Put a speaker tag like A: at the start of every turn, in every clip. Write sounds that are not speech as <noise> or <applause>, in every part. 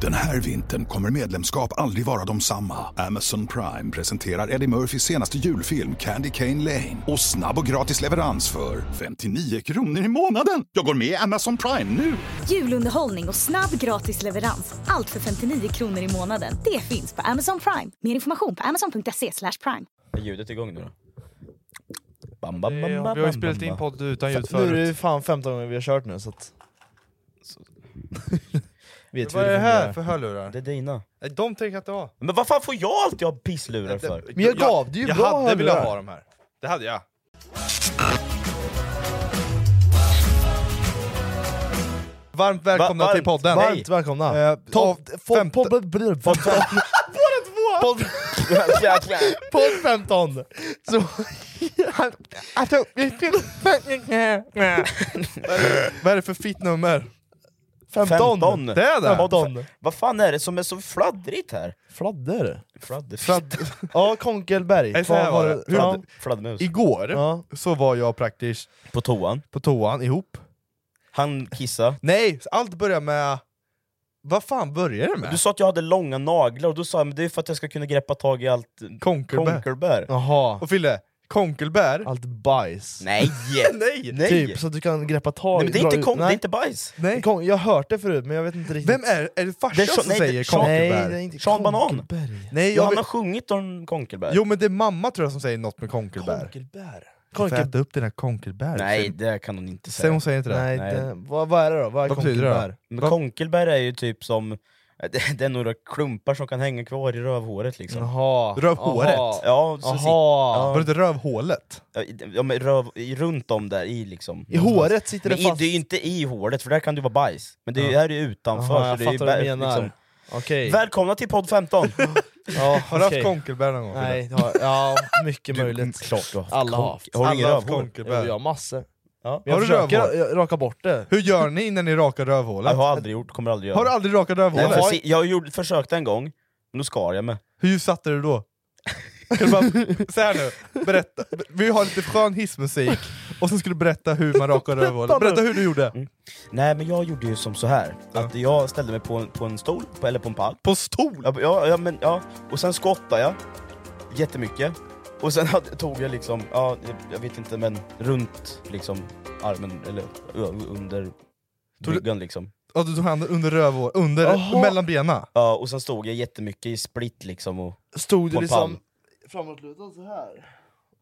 A: Den här vintern kommer medlemskap aldrig vara de samma. Amazon Prime presenterar Eddie Murphys senaste julfilm Candy Cane Lane. Och snabb och gratis leverans för 59 kronor i månaden. Jag går med i Amazon Prime nu!
B: Julunderhållning och snabb gratis leverans. Allt för 59 kronor i månaden. Det finns på Amazon Prime. Mer information på amazon.se slash prime.
C: Är ljudet igång nu då? Bam, bam,
D: Eh,
C: bam,
D: Vi
C: bam,
D: har ju
C: bam,
D: spelat
C: bam,
D: in
C: bam.
D: podd utan ljud
E: Nu är det ju
D: förut.
E: fan 15 gånger vi har kört nu så att... vet hur
D: Vad är det
E: det
D: här
E: fungerar.
D: för hörlurar?
C: Det är dina.
D: Nej, De tänker jag inte ha.
C: Men vad fan får jag alltid ha pisslurar för?
E: Men jag gav det ju
D: jag
E: bra
D: hade velat
E: hörlurar.
D: ha de här. Det hade jag. Varmt välkomna
C: Va-
D: till
C: varmt.
D: podden.
C: Va-
E: Varmt välkomna!
D: Eh,
E: Topp
D: av
E: fem-
D: femton-
E: podd- blir- podd-
D: <laughs>
E: Podd-
C: Jäklar.
E: Podd <laughs> 15! Så... Alltså,
D: Vad är det för fitt nummer?
E: 15!
C: 15.
E: Det är det!
C: 15.
E: 15.
C: vad fan är det som är så fladdrigt här?
E: Fladder?
C: Fladderfitt.
E: Fladd... Ja, Konkelberg.
D: Nej, så här
E: Vad
D: var det.
E: Ja.
C: Fladd- Fladdermus.
D: Igår
E: Ja.
D: så var jag praktiskt
C: På toan.
D: på toan ihop.
C: Han kissa.
D: Nej, allt börjar med... Vad fan börjar det med?
C: Du sa att jag hade långa naglar och då sa jag men det är för att jag ska kunna greppa tag i allt
D: Konkelbär.
C: konkelbär.
E: Jaha.
D: Och Fille, konkelbär?
E: Allt bajs.
C: Nej!
D: <laughs> Nej!
C: Nej.
E: Typ, så att du kan greppa tag
C: Nej, men det, är
E: dra
C: inte
E: ut-
C: kon- det är
E: Nej.
C: inte bajs.
D: Nej.
E: Kon- Jag har hört det förut men jag vet inte riktigt
D: Vem är, är det
C: Det
D: farsan
C: är så-
D: som
C: nej, det-
D: säger
C: Sean-
E: Nej,
D: konkelbär?
E: det är inte
C: Sean Banan.
E: Konkelberg.
D: Nej,
C: Ja,
D: jag
C: han har
D: vet,
C: sjungit om konkelbär.
D: jo men det är mamma tror jag som säger något med konkelbär.
C: konkelbär.
D: Konkel...
E: Konkel-
D: Får jag äta upp dina konkelbär?
C: Nej,
D: Säger-
C: det kan hon inte
D: Säger
C: säga.
D: hon säger inte det?
E: Nej,
C: Nej.
E: Det, vad, vad är det då? Vad är
D: Vad betyder det?
E: konkelbär?
C: Men
D: Vad-
C: konkelbär är ju typ som... Det är några klumpar som kan hänga kvar i rövhåret liksom.
E: Jaha.
D: Rövhåret.
E: Jaha.
C: Ja, så sit-
E: Jaha.
D: Var det inte rövhålet?
C: Ja, i- ja, men röv, i- runt om där i liksom.
E: I håret sitter det
C: Men i,
E: fast.
C: det är ju inte i håret, för där kan du vara bajs. Men det är, ju- här är ju utanför.
E: Jaha, jag
C: så det är ju
E: fattar vad du
C: bär-
E: menar. Okej.
C: Välkomna till podd
E: <laughs>
C: 15!
E: Ja,
D: liksom- Har du
E: okej.
D: haft konkelbär någon gång? Fille?
E: Nej, det har, ja, mycket möjligt.
C: Klart du har haft
E: Alla har
C: konk-
E: haft.
C: Har du ingen
D: Alla har haft
C: rövhår?
E: Jo,
D: konkelbär.
E: jag har massor.
C: Ja.
E: Men jag
D: Har du
E: försöker
D: rövhål?
E: ra- raka bort det.
D: Hur gör ni när ni rakar
C: Jag
D: rövhålet?
C: har aldrig gjort, kommer aldrig göra.
D: Har du aldrig rakat
C: Nej,
D: rövhålet?
C: för si- jag gjorde, försökte en gång, men då skar jag mig.
D: Hur satte du då? Kan du bara, så här nu, berätta. Vi har lite skön hissmusik, och sen ska du berätta hur man rakar rövhålet. Berätta hur du gjorde.
C: Nej men jag gjorde ju som så här
D: Ja.
C: att jag ställde mig på en, på en stol, på, eller på en pall.
D: På stol!
C: Ja, ja, ja, men, ja. Och sen skottade jag jättemycket. Och sen <laughs> hade, tog jag liksom, ja, jag, jag vet inte men runt liksom armen, eller ö, under
D: Tog du-
C: bryggan liksom.
D: Ja, du tog handen under rövhår, under,
E: Jaha.
D: mellan benen.
C: Ja, och sen stod jag jättemycket i split liksom och... På
E: Stod du
C: en
E: liksom
C: pall.
E: framåtlutad så här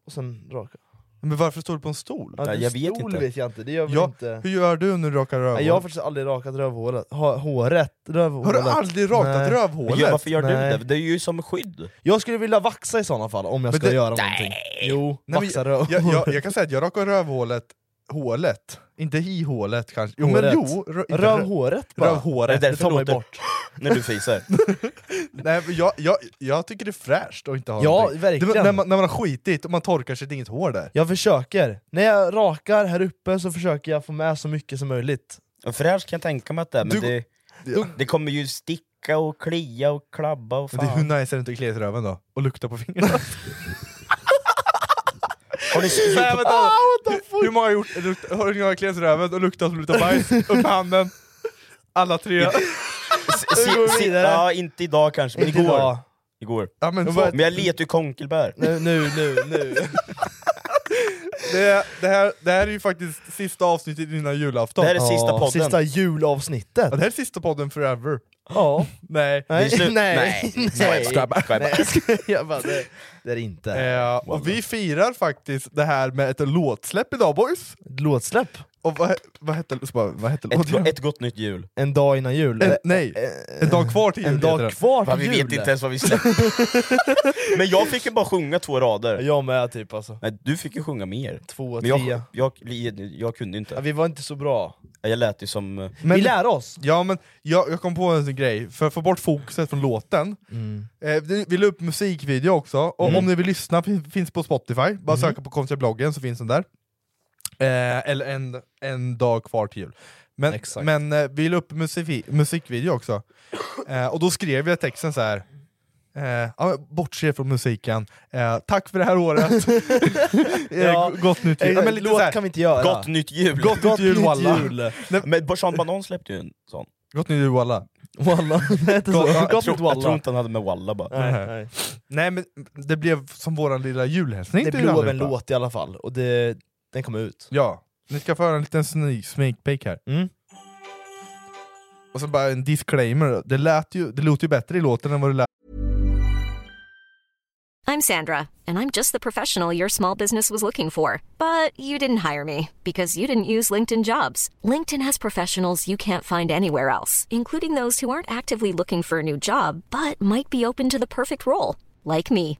E: och sen raka?
D: Men varför står du på en stol?
E: Ja,
C: Nej,
E: det
C: jag vet
E: stol
C: inte.
E: vet jag inte, det gör väl
D: Ja,
E: inte...
D: Hur gör du när du rakar rövhålet?
E: Nej, jag har faktiskt aldrig rakat rövhålet. Ha, håret,
D: har
E: rövhålet.
D: du aldrig rakat
E: Nej.
D: rövhålet?
C: Ja, varför gör du
E: Nej.
C: det? Det är ju som skydd.
E: Jag skulle vilja vaxa i sådana fall om jag
D: Men
E: ska
D: det-
E: göra någonting. Jo,
D: Nej, men
E: vaxa rövhålet.
D: jag,
E: <laughs>
D: jag, jag kan säga att jag rakar rövhålet, hålet. Inte i hålet kanske. Jo, men
E: Håret.
D: jo, rö, inte rö-
E: Rövhåret bara.
D: Rövhåret.
C: Det
E: Det,
C: är därför
E: tar man ju
C: låter-
E: bort.
C: <laughs> När du fiser.
D: Nej, men jag, jag, jag tycker det är fräscht att inte ha
E: Ja,
D: någonting.
E: verkligen.
D: Det, när, man, när man har skitit och man torkar sitt inget hår där.
E: Jag försöker. När jag rakar här uppe så försöker jag få med så mycket som möjligt.
C: Och Fräscht kan jag tänka mig att det är, men
D: Du-
C: det,
D: Du-
C: det kommer ju sticka och klia och klabba och
D: Men det,
C: fan.
D: hur nice är det inte att klia sig i röven då? Och lukta
C: <laughs>
D: på fingrarna?
C: Har du sett-
D: Nej, vänta.
E: Ah,
D: hur, hur många har gjort, lukt- har du kliat sig i röven och luktat som luktar bajs? Upp med handen!
C: <laughs>
D: Alla tre!
C: Se- se-
E: går
C: se-
E: vidare.
C: Ja, inte idag kanske, men
E: Inte
C: igår.
E: idag.
C: igår.
D: Ja, men, så,
C: Men jag letar ju konkelbär.
E: Nu, nu, nu, nu.
D: det, det, här, det här är ju faktiskt sista avsnittet innan julafton.
C: Det här är sista
E: Ja,
C: podden.
E: Sista
D: Ja,
E: julavsnittet.
D: det här är sista podden forever.
E: Ja.
D: Nej.
C: Det
E: <laughs> Nej,
C: är slut.
E: nej,
C: Nej.
E: nej.
C: Skämt, skämt.
E: Nej, jag skojar jag bara, det, det är det inte.
D: Eh, och vi firar faktiskt det här med ett låtsläpp idag boys!
E: Låtsläpp?
D: Och vad, he- vad hette, så bara, vad hette
C: Ett,
D: låten?
C: go- ett gott nytt jul.
E: En dag innan jul?
D: En,
E: Eller-
D: nej,
E: eh,
D: en dag kvar till jul
E: en
D: heter
E: dag
D: den.
E: kvar till
C: Fan, vi
E: jul?
C: vet inte ens vad vi släpper.
E: <laughs>
C: men jag fick ju bara sjunga två rader.
E: Jag med typ alltså.
C: Nej, du fick ju sjunga mer.
E: Två,
C: Men
E: tre.
C: jag, jag, jag, kunde ju
E: Ja,
C: inte.
E: vi var inte så bra.
C: Jag lät ju som... eh,
D: Men-
E: vi lär oss!
D: Ja men jag, jag kom på en sån grej, för att få bort fokuset från låten
E: Mm.
D: eh, vi- Vi la upp musikvideo också, och om ni vill lyssna fin- finns på Spotify,
E: Mm.
D: bara söka på konstiga bloggen så finns den där eh, Eller en, en dag kvar till jul Men,
E: Exakt.
D: men eh, vi la upp musik, musikvideo också, eh, och då skrev jag texten så här. Eh, ja, men bortse från musiken, eh, tack för det här året,
E: <laughs>
D: eh,
E: Ja.
D: g- gott nytt jul! Ja, men lite så
E: Låt
D: här,
E: kan vi inte
C: <laughs>
E: göra.
C: Gott nytt jul!
D: gott nytt jul walla!
E: jul.
C: Men Sean Banan släppte ju en sån.
E: <laughs>
D: Gott nytt jul walla!
E: Walla, det hette så.
D: Jag
E: Gott
C: Jag,
E: nytt
C: tror- jag tror
E: walla.
C: inte han hade med Walla bara. <laughs>
E: Nej,
D: Nej.
E: nej.
D: Nej men det blev som våran lilla julhälsning
E: Det
D: till
E: blev en
D: allihopa.
E: låt i alla fall, och det, den kom ut.
D: Ja, ni ska få höra en liten sneak, sneak peek här.
E: Mm.
D: Och så bara en disclaimer, det, lät ju, det låter ju bättre i låten än vad det lät
F: I'm Sandra, and I'm just the professional your small business was looking for. But you didn't hire me because you didn't use LinkedIn jobs. LinkedIn has professionals you can't find anywhere else, including those who aren't actively looking for a new job but might be open to the perfect role, like me.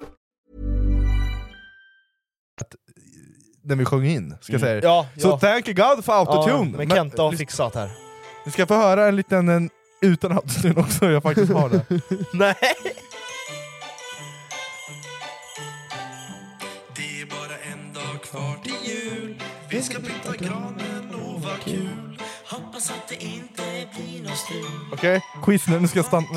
D: när vi sjöng in, ska jag säga.
E: Mm. Ja,
D: Så
E: ja.
D: thank you God för
E: Ja,
D: autotune!
E: men Kenta har
D: lys-
E: fixat här.
D: Ni ska få höra en liten en, utan autotune också, jag faktiskt har det.
E: <laughs> Nej!
G: Det är bara en dag kvar till jul Vi ska pynta granen och vad kul Hoppas att det inte blir något strul
D: Okej? Quiz nu, nu ska jag stanna.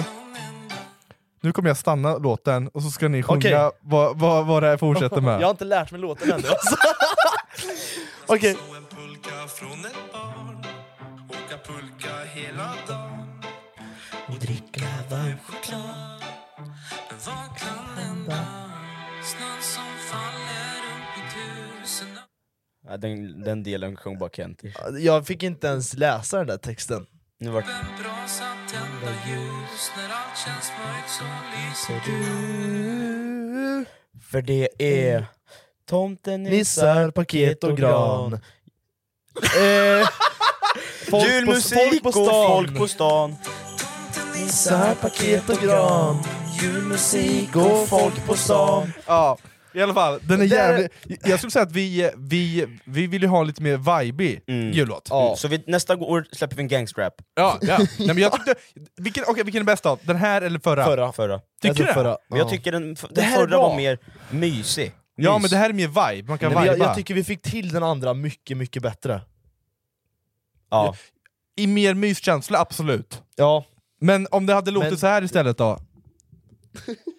D: Nu kommer jag stanna låten och så ska ni sjunga
E: Okej.
D: vad, vad, vad det här
E: <laughs>
D: fortsätter med.
E: Jag har inte lärt mig låten
D: <laughs>
E: ännu alltså. Okej.
G: Och en pulka från ett barn Åka pulka hela dagen Och dricka varm choklad Men vakna en dag Snön som faller upp i tusen
C: Nej, Den, den delen sjöng bara Kent.
E: Jag fick inte ens läsa den där texten.
C: Nu vart
G: En brasa tända ljus När allt känns mörkt så lyser
E: För det är
C: tomten
E: nissar, paket och gran. Eh, folk
C: Julmusik
E: på, folk på
C: och
E: stan.
C: folk på stan.
E: Nissar, paket och gran. Julmusik och folk på stan.
D: Ja, i alla fall. Den är
E: Det där-
D: jävligt... Jag skulle säga att vi, vi, vi vill ju ha lite mer vibey
E: Mm.
D: jullåt.
C: Ja. Så vi, nästa år släpper vi en gangstrap.
D: Ja, ja. Nej, men jag tyckte, vilken, okej, vilken är bäst av? Den här eller förra?
C: Förra. förra.
D: Tycker du det?
E: Förra.
C: Men jag tycker den, den
E: här är
C: förra var
E: bra.
C: mer mysig.
D: Ja
C: Mys.
D: men det här är mer vibe, man kan
E: Nej, men jag,
D: vibea.
E: jag tycker vi fick till den andra mycket, mycket bättre.
C: Ja.
D: I mer myskänsla, absolut.
E: Ja,
D: Men om det hade låtit
E: Men-
D: så här istället då?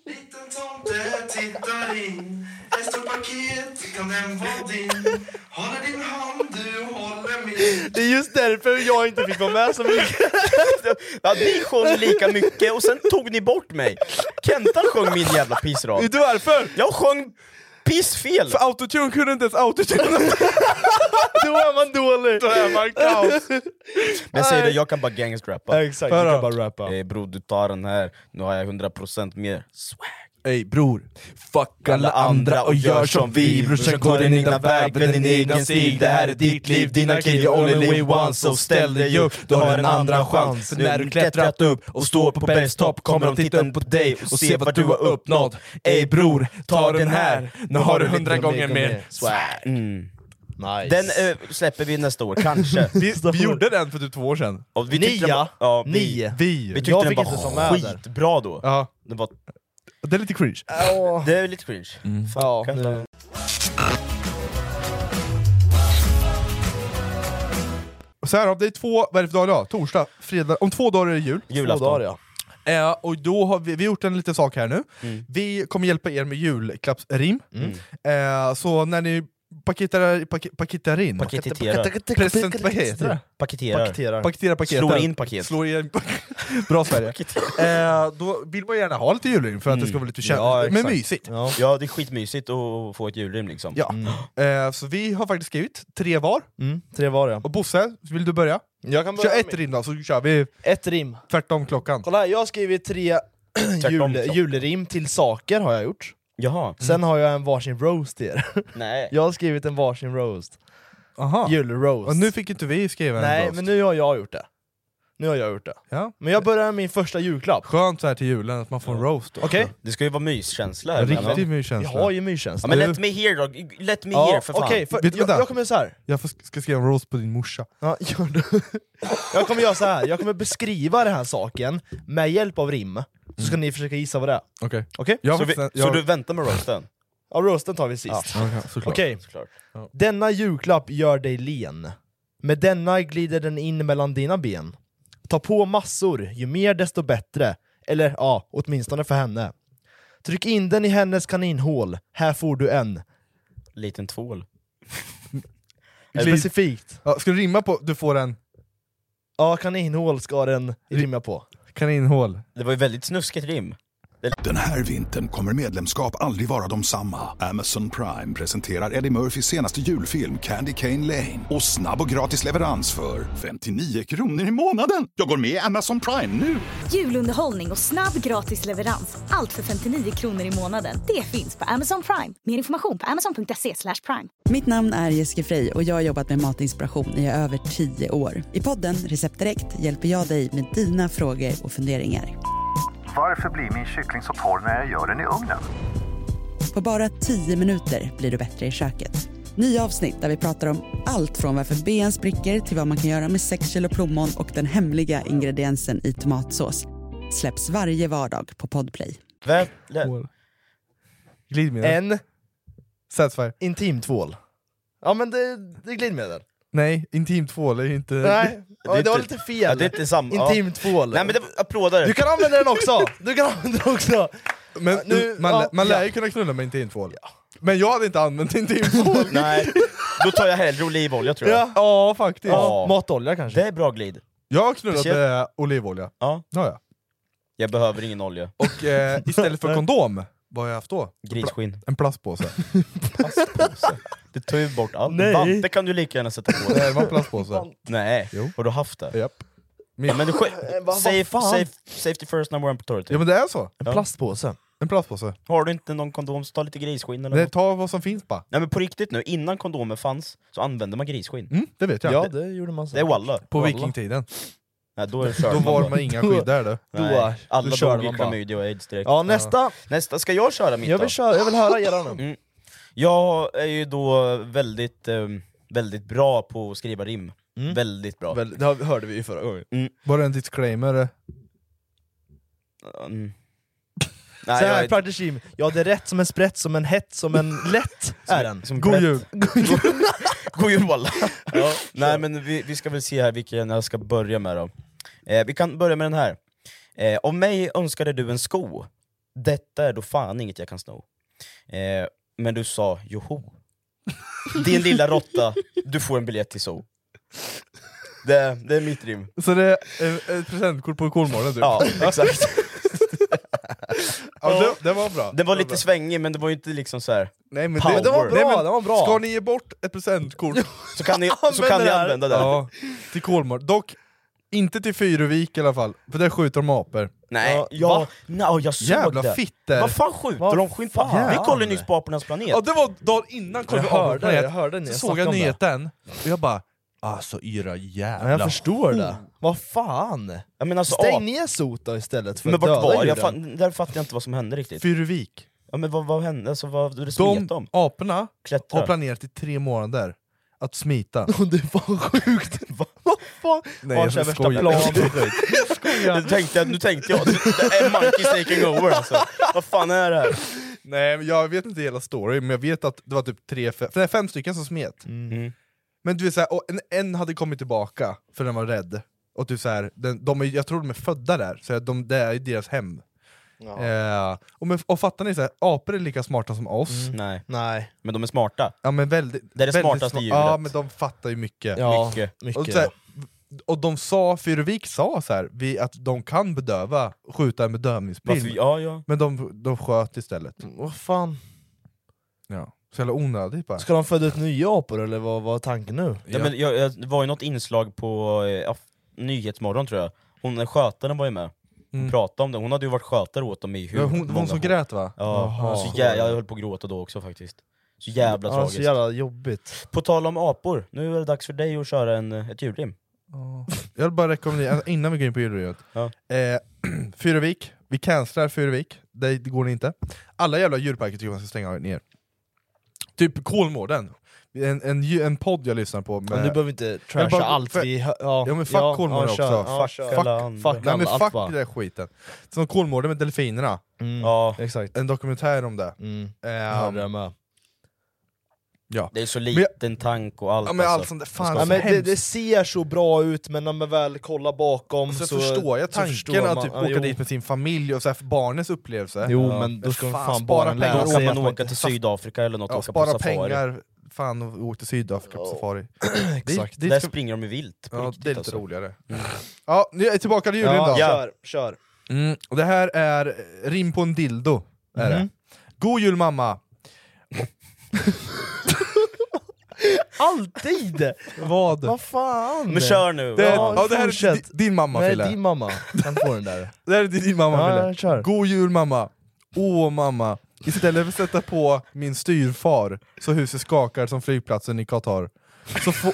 G: Liten tomte tittar in Ett stort paket kan den vara din Håller din hand, du håller min
E: det är just därför jag inte fick vara med så mycket.
C: <laughs> Ja, ni sjöng lika mycket och sen tog ni bort mig. Kentan sjöng min jävla pissrad.
D: Vet du varför?
C: Jag sjöng pissfel!
D: För autotune kunde inte ens <laughs> autotune!
E: Då är man dålig!
D: Då är man kaos!
C: Men säg det, jag kan bara gangstrappa.
E: exakt,
D: Hör
E: du
D: då.
E: kan bara rappa.
C: Eh, bror du tar den här, nu har jag 100% mer swag.
D: Ey bror, fuck alla andra och gör som vi Brorsan går din egna väg med din egen stil Det här är ditt liv, dina kid, you only live once Så ställ dig upp, du har en andra chans För när du klättrat upp och står på bäst topp Kommer de titta upp på dig och se vad du har uppnått Ey bror, ta den här, nu har du hundra gånger mer
E: swag. Nice.
C: Den eh, släpper vi nästa år, kanske.
D: vi gjorde den för typ två år sedan
C: Och vi tyckte den
E: Nia,
C: var- ja, vi,
E: nio.
D: Vi!
C: Vi tyckte
E: Jag
C: den
E: fick inte ta
C: var
E: med
C: skitbra då.
D: Ja,
C: Den var,
D: det är lite cringe
C: det är lite cringe.
E: Ja, nu.
D: Och så här, då, det är två, vad är det för dag idag? Torsdag, fredag, om två dagar är det jul.
E: Två dagar ja.
D: Eh, och då har vi, vi har gjort en
C: Mm.
D: liten sak här nu. Vi kommer hjälpa er med julklappsrim. Eh, så när ni Paketar, paket, paketarin?
C: Paketiterar.
D: Present, vad heter det?
C: Paketerar.
D: Paketerar. Paketerar paketen.
C: Slår in paket.
D: Slår in <laughs> Bra Sverige. eh, då vill man gärna ha lite julrim för att det ska vara lite känsligt, men
C: exakt.
D: mysigt.
C: Mm. Ja. ja, det är skitmysigt att få ett julrim liksom.
D: Ja. Eh, så vi har faktiskt skrivit tre var,
E: Mm, tre var ja.
D: och Bosse, vill du börja?
E: Jag kan börja
D: Kör
E: med-
D: ett rim då, så kör vi
E: Ett rim.
D: tvärtom klockan.
E: Kolla här, jag har skrivit tre
C: Tvärtom,
E: jul,
C: liksom.
E: julrim till saker har jag gjort.
C: Jaha.
E: Sen har jag en varsin roast till er.
C: Nej.
E: Jag har skrivit en varsin roast.
D: Aha.
E: Julroast.
D: Och nu fick inte vi skriva en
E: Nej,
D: roast.
E: men nu har jag gjort det. Nu har jag gjort det.
D: Ja.
E: Men jag börjar med min första julklapp.
D: Skönt så här till julen att man får en roast. också.
E: Okej?
C: Det ska ju vara myskänsla
D: En
C: här.
D: Riktig
C: men-
E: Jag
D: myskänsla.
E: har ju myrtjänst.
C: Ja, men let me hear då. Let me hear för fan.
E: Okej, för-
D: Vet du vad
E: jag,
D: det är?
E: jag kommer göra så här.
D: Jag får sk- ska skriva en roast på din morsa.
E: Ja, gör det. <laughs> Jag kommer göra så här. jag kommer beskriva den här saken med hjälp av rim, så ska ni försöka gissa vad det är.
D: Okej.
E: Okej?
D: Mm. Jag,
C: Så, vi,
D: jag,
C: så du väntar med roasten?
E: Ja, roasten tar vi sist.
D: Okej, såklart.
E: Okej,
C: Såklart.
E: denna julklapp gör dig len. Med denna glider den in mellan dina ben. Ta på massor, ju mer desto bättre. Eller ja, åtminstone för henne. Tryck in den i hennes kaninhål, här får du en.
C: Liten
E: <laughs>
C: tvål.
E: Specifikt.
D: Ja, ska du rimma på du får en
E: Ja, kaninhål ska den rimma på.
D: kaninhål?
C: Det var ju väldigt snuskigt rim.
A: Den här vintern kommer medlemskap aldrig vara de samma. Amazon Prime presenterar Eddie Murphys senaste julfilm Candy Cane Lane. Och snabb och gratis leverans för 59 kronor i månaden. Jag går med i Amazon Prime nu!
B: Julunderhållning och snabb gratis leverans. Allt för 59 kronor i månaden. Det finns på Amazon Prime. Mer information på amazon.se slash prime.
H: Mitt namn är Jessica Frey och jag har jobbat med matinspiration i över 10 år. I podden Recept Direkt hjälper jag dig med dina frågor och funderingar.
I: Varför blir min kyckling så torr när jag gör den i ugnen?
H: På bara 10 minuter blir du bättre i köket. Nya avsnitt där vi pratar om allt från varför ben spricker till vad man kan göra med 6 kilo plommon och den hemliga ingrediensen i tomatsås. Släpps varje vardag på Podplay.
C: Vä- le-
D: Hål. Glidmedel?
E: En
D: Satisfyer?
E: intimtvål. Ja men det, det är glidmedel.
D: Nej, intimtvål är inte... <laughs>
E: Nej, ja, det,
C: är
E: var
C: inte-
E: lite fel.
C: ja, det är inte samma- ja.
E: Intimtvål.
C: Nej men det var applåder!
E: Du kan använda den också! Du kan använda den också!
D: Men
E: Nu-
D: man,
E: ja,
D: man lär ju
E: ja.
D: kunna knulla med intimtvål. Men jag hade inte
E: <laughs>
D: använt intimtvål.
C: <laughs> Nej, då tar jag hellre olivolja tror jag.
D: ja. ja, faktiskt.
C: Ja.
E: Matolja kanske?
C: Det är bra glid.
D: Jag har knullat
C: Speciellt-
D: med olivolja.
C: Ja.
D: Det har jag.
C: Jag behöver ingen olja.
D: Och eh,
E: <laughs>
D: istället för kondom, vad har jag haft då?
C: Grisskinn.
D: En plastpåse.
C: Det tar ju bort allt.
E: Nej.
C: Vante kan du lika gärna sätta på
D: Nej,
C: dig.
D: det var en plastpåse.
C: Nej,
D: Jo.
C: har du haft det?
D: Japp.
C: Ja, men du
E: Eh, vad- vad
C: safe,
E: fan?
C: safe, safety first number one priority.
D: Ja men det är så.
E: En plastpåse.
D: En plastpåse.
C: typ. Har du inte någon kondom så ta lite grisskinn eller
D: Det
C: något.
D: tar vad som finns bara.
C: Nej men på riktigt nu, innan kondomer fanns så använde man grisskinn.
D: Mm, det vet jag.
E: Ja, det gjorde man så.
C: Det är walla.
D: På
E: Alla.
D: vikingtiden.
C: Nej, då är det kört
D: Då var
C: bara.
D: man inga skydd
C: <laughs>
D: där du.
E: Då-
C: Nej, Alla
E: då körde
C: dog i
E: man bara.
C: klamydia och aids direkt.
E: Ja, nästa!
C: Nästa, ska jag köra mitt
E: Jag
C: då?
E: vill, köra, jag vill höra era
C: <laughs>
E: nu.
C: Mm. Jag är ju då väldigt, ehm, väldigt bra på att skriva rim. Väldigt bra.
E: Mm. Väl, Det hörde vi ju förra gången.
D: Var det en disclaimer?
C: Mm.
E: Nej,
C: Nej,
E: så
C: jag
E: här,
C: är-
E: Prodigy Jim. ja det är rätt som en sprätt, som en hett, som
D: <laughs>
E: en lätt är den.
C: som
E: God
C: plätt.
E: jul!
C: <laughs> God jul
E: <laughs>
C: alla! Nej men vi, vi ska väl se här vilken jag ska börja med då. Eh, vi kan börja med den här. Eh, av mig önskade du en sko. Detta är då fan inget jag kan sno. Eh, men du sa joho. Din lilla råtta, du får en biljett till zoo. Det, det är mitt rim.
D: Så det är eh, ett presentkort på Kolmården
E: <laughs>
D: typ?
C: Ja, exakt.
D: Ja, det, det var bra.
C: Den var lite
D: bra.
C: svängig men det var ju inte liksom så här.
D: Nej, men
C: Power.
D: det, det var bra,
E: Nej, men
D: det var bra! Ska ni ge bort ett <laughs> presentkort
C: Så kan
E: <laughs>
C: ni, så kan ni
E: det här.
C: använda det.
D: ja, till Kolmården? Dock, inte till Fyruvik i alla fall, för där skjuter de apor.
C: Nej,
E: Ja,
C: ja,
E: ja.
C: No, jag såg
D: Jävla
C: det.
D: fitter.
C: Vad fan skjuter
E: Vad
C: de? Skjut fan.
E: fan?
C: Vi kollade ju nyss på Apornas planet.
D: Ja, det var dagen innan
E: Jag
D: kollade
E: hörde det, jag
D: jag
E: hörde när
D: Så
E: jag
D: såg
E: snackade
D: jag
E: om det.
D: nyheten, och jag bara Alltså era
E: Ja,
D: jävla...
E: jag förstår det. Vad fan?
C: Jag menar, alltså,
E: Stäng
C: ap-
E: ner sot då istället för
C: Men
E: att
C: vart
E: döda
C: var jag?
E: djuren.
C: Fan, där fattar jag inte vad som hände riktigt.
D: Fyruvik.
C: Ja, men vad, vad hände? Alltså, vad, du
D: De
C: smet dem?
D: aporna har
C: Klättra?
D: planerat i tre månader att
E: <laughs>
D: smita.
E: Det var sjukt! Vad fan?
D: Nej,
E: Har
D: jag
E: så här värsta
D: skojar.
E: plan.
C: Nu tänkte jag, nu tänkte jag, det är monkeys taking over alltså. Vad fan är det här?
D: <laughs> Nej, men jag vet inte hela storyn, men jag vet att det var typ tre, fem, nej, fem stycken som smet.
C: Mm.
D: Men du är så här, och en, en hade kommit tillbaka för typ den var rädd. Och du så här, den, de är, jag tror de är födda där, så här, de, det är deras hem. Eh, och, men, och fattar ni, så här, apor är lika smarta som oss.
E: Mm.
C: Nej.
E: Nej.
C: Men de är smarta.
D: Ja, men väldigt,
C: Det är det
D: väldigt
C: smartaste
D: sma-
C: djuret.
D: Ja, men de fattar ju mycket.
E: Ja,
C: Mycket.
D: Och,
E: mycket.
D: så här, och de sa, Fyrvik sa så här, vi, att de kan bedöva, skjuta en
C: Varför,
D: bedövningspil.
C: ja, ja.
D: Men de, de sköt istället.
E: Vad fan?
D: Ja. Så jävla onödigt bara.
E: Ska de föda ut nya apor eller vad vad är tanken nu?
C: Ja, men jag, jag, det var ju något inslag på eh, Af- Nyhetsmorgon tror jag, hon eh, skötaren var ju med och
D: Mm.
C: pratade om det, hon hade ju varit skötare åt dem i hur
D: Ja, hon,
C: många
D: hon som
C: år.
D: grät va?
C: Ja, så jä- jag höll på att gråta då också faktiskt. Så jävla
E: Ja,
C: tragiskt.
E: så jävla jobbigt.
C: På tal om apor, nu är det dags för dig att köra en, eh, ett julrim.
D: Ja. Jag vill bara rekommendera, alltså, innan vi går in på julreot.
C: Ja.
D: Eh, <clears throat> Fyrevik, vi cancelar Fyrevik, det, det går inte. Alla jävla djurparker tycker man ska stänga ner. Typ Kolmården, en, en, dju- en podd jag lyssnar på
E: Men
D: med...
E: du behöver inte trasha
D: Men bara-
E: allt
D: för-
E: vi... hö- Ja,
D: Ja men fuck Kolmården
E: ja,
D: också,
E: kör, Ja,
D: fuck,
E: kör.
D: fuck,
C: Alla andra.
E: fuck
D: nej, men
E: allt
D: fuck
E: bara.
D: den där skiten. Som Kolmården med delfinerna,
E: Mm.
C: Ja,
E: Exakt.
D: en dokumentär om det.
E: Mm.
D: Eh,
E: Jag hörde det med.
C: det är så liten tank och allt
D: ja, men allt
C: alltså.
D: sånt där, fan
E: Ja,
D: så
E: men det,
D: hemskt.
E: det ser så bra ut, men när man väl kollar bakom
D: Sen
E: så...
D: förstår Alltså, jag
E: så
D: tanken
E: förstår man-
D: att typ
E: ja,
D: åka
E: jo.
D: dit med sin familj och så här, för barnens upplevelse.
E: Jo,
C: Ja.
E: men då
D: Men
E: ska man
D: fan,
E: fan
D: spara
E: bara
D: pengar.
E: lära
C: Då
E: sig
C: kan
E: att
C: man
E: man
C: åka till Sydafrika eller något,
D: Ja,
C: åka på
D: spara
C: safari.
D: pengar, fan och åk till Sydafrika på
E: Ja.
D: safari.
E: <clears throat> Exakt.
D: Det,
C: Där
D: det, ska,
C: springer de ju vilt på
D: ja,
C: riktigt
D: det är lite
C: alltså.
D: roligare. Ja, nu är jag tillbaka till julen
E: Ja,
D: då.
E: kör, kör.
D: Mm, och det här är eh, rim på en dildo. Är det.
E: Mhm.
D: God jul mamma!
E: Alltid!
D: Vad?
E: Vad fan!
C: Men kör nu!
D: Det, är,
E: Ja,
D: ja, det här är
E: fortsätt.
D: di- din mamma
E: Nej,
D: Fille.
E: din mamma. Kan få den där.
D: Det här är din mamma
E: Ja,
D: Fille.
E: jag kör.
D: God jul mamma! Åh mamma! Istället för att sätta på min styrfar så huset skakar som flygplatsen i Qatar så, få,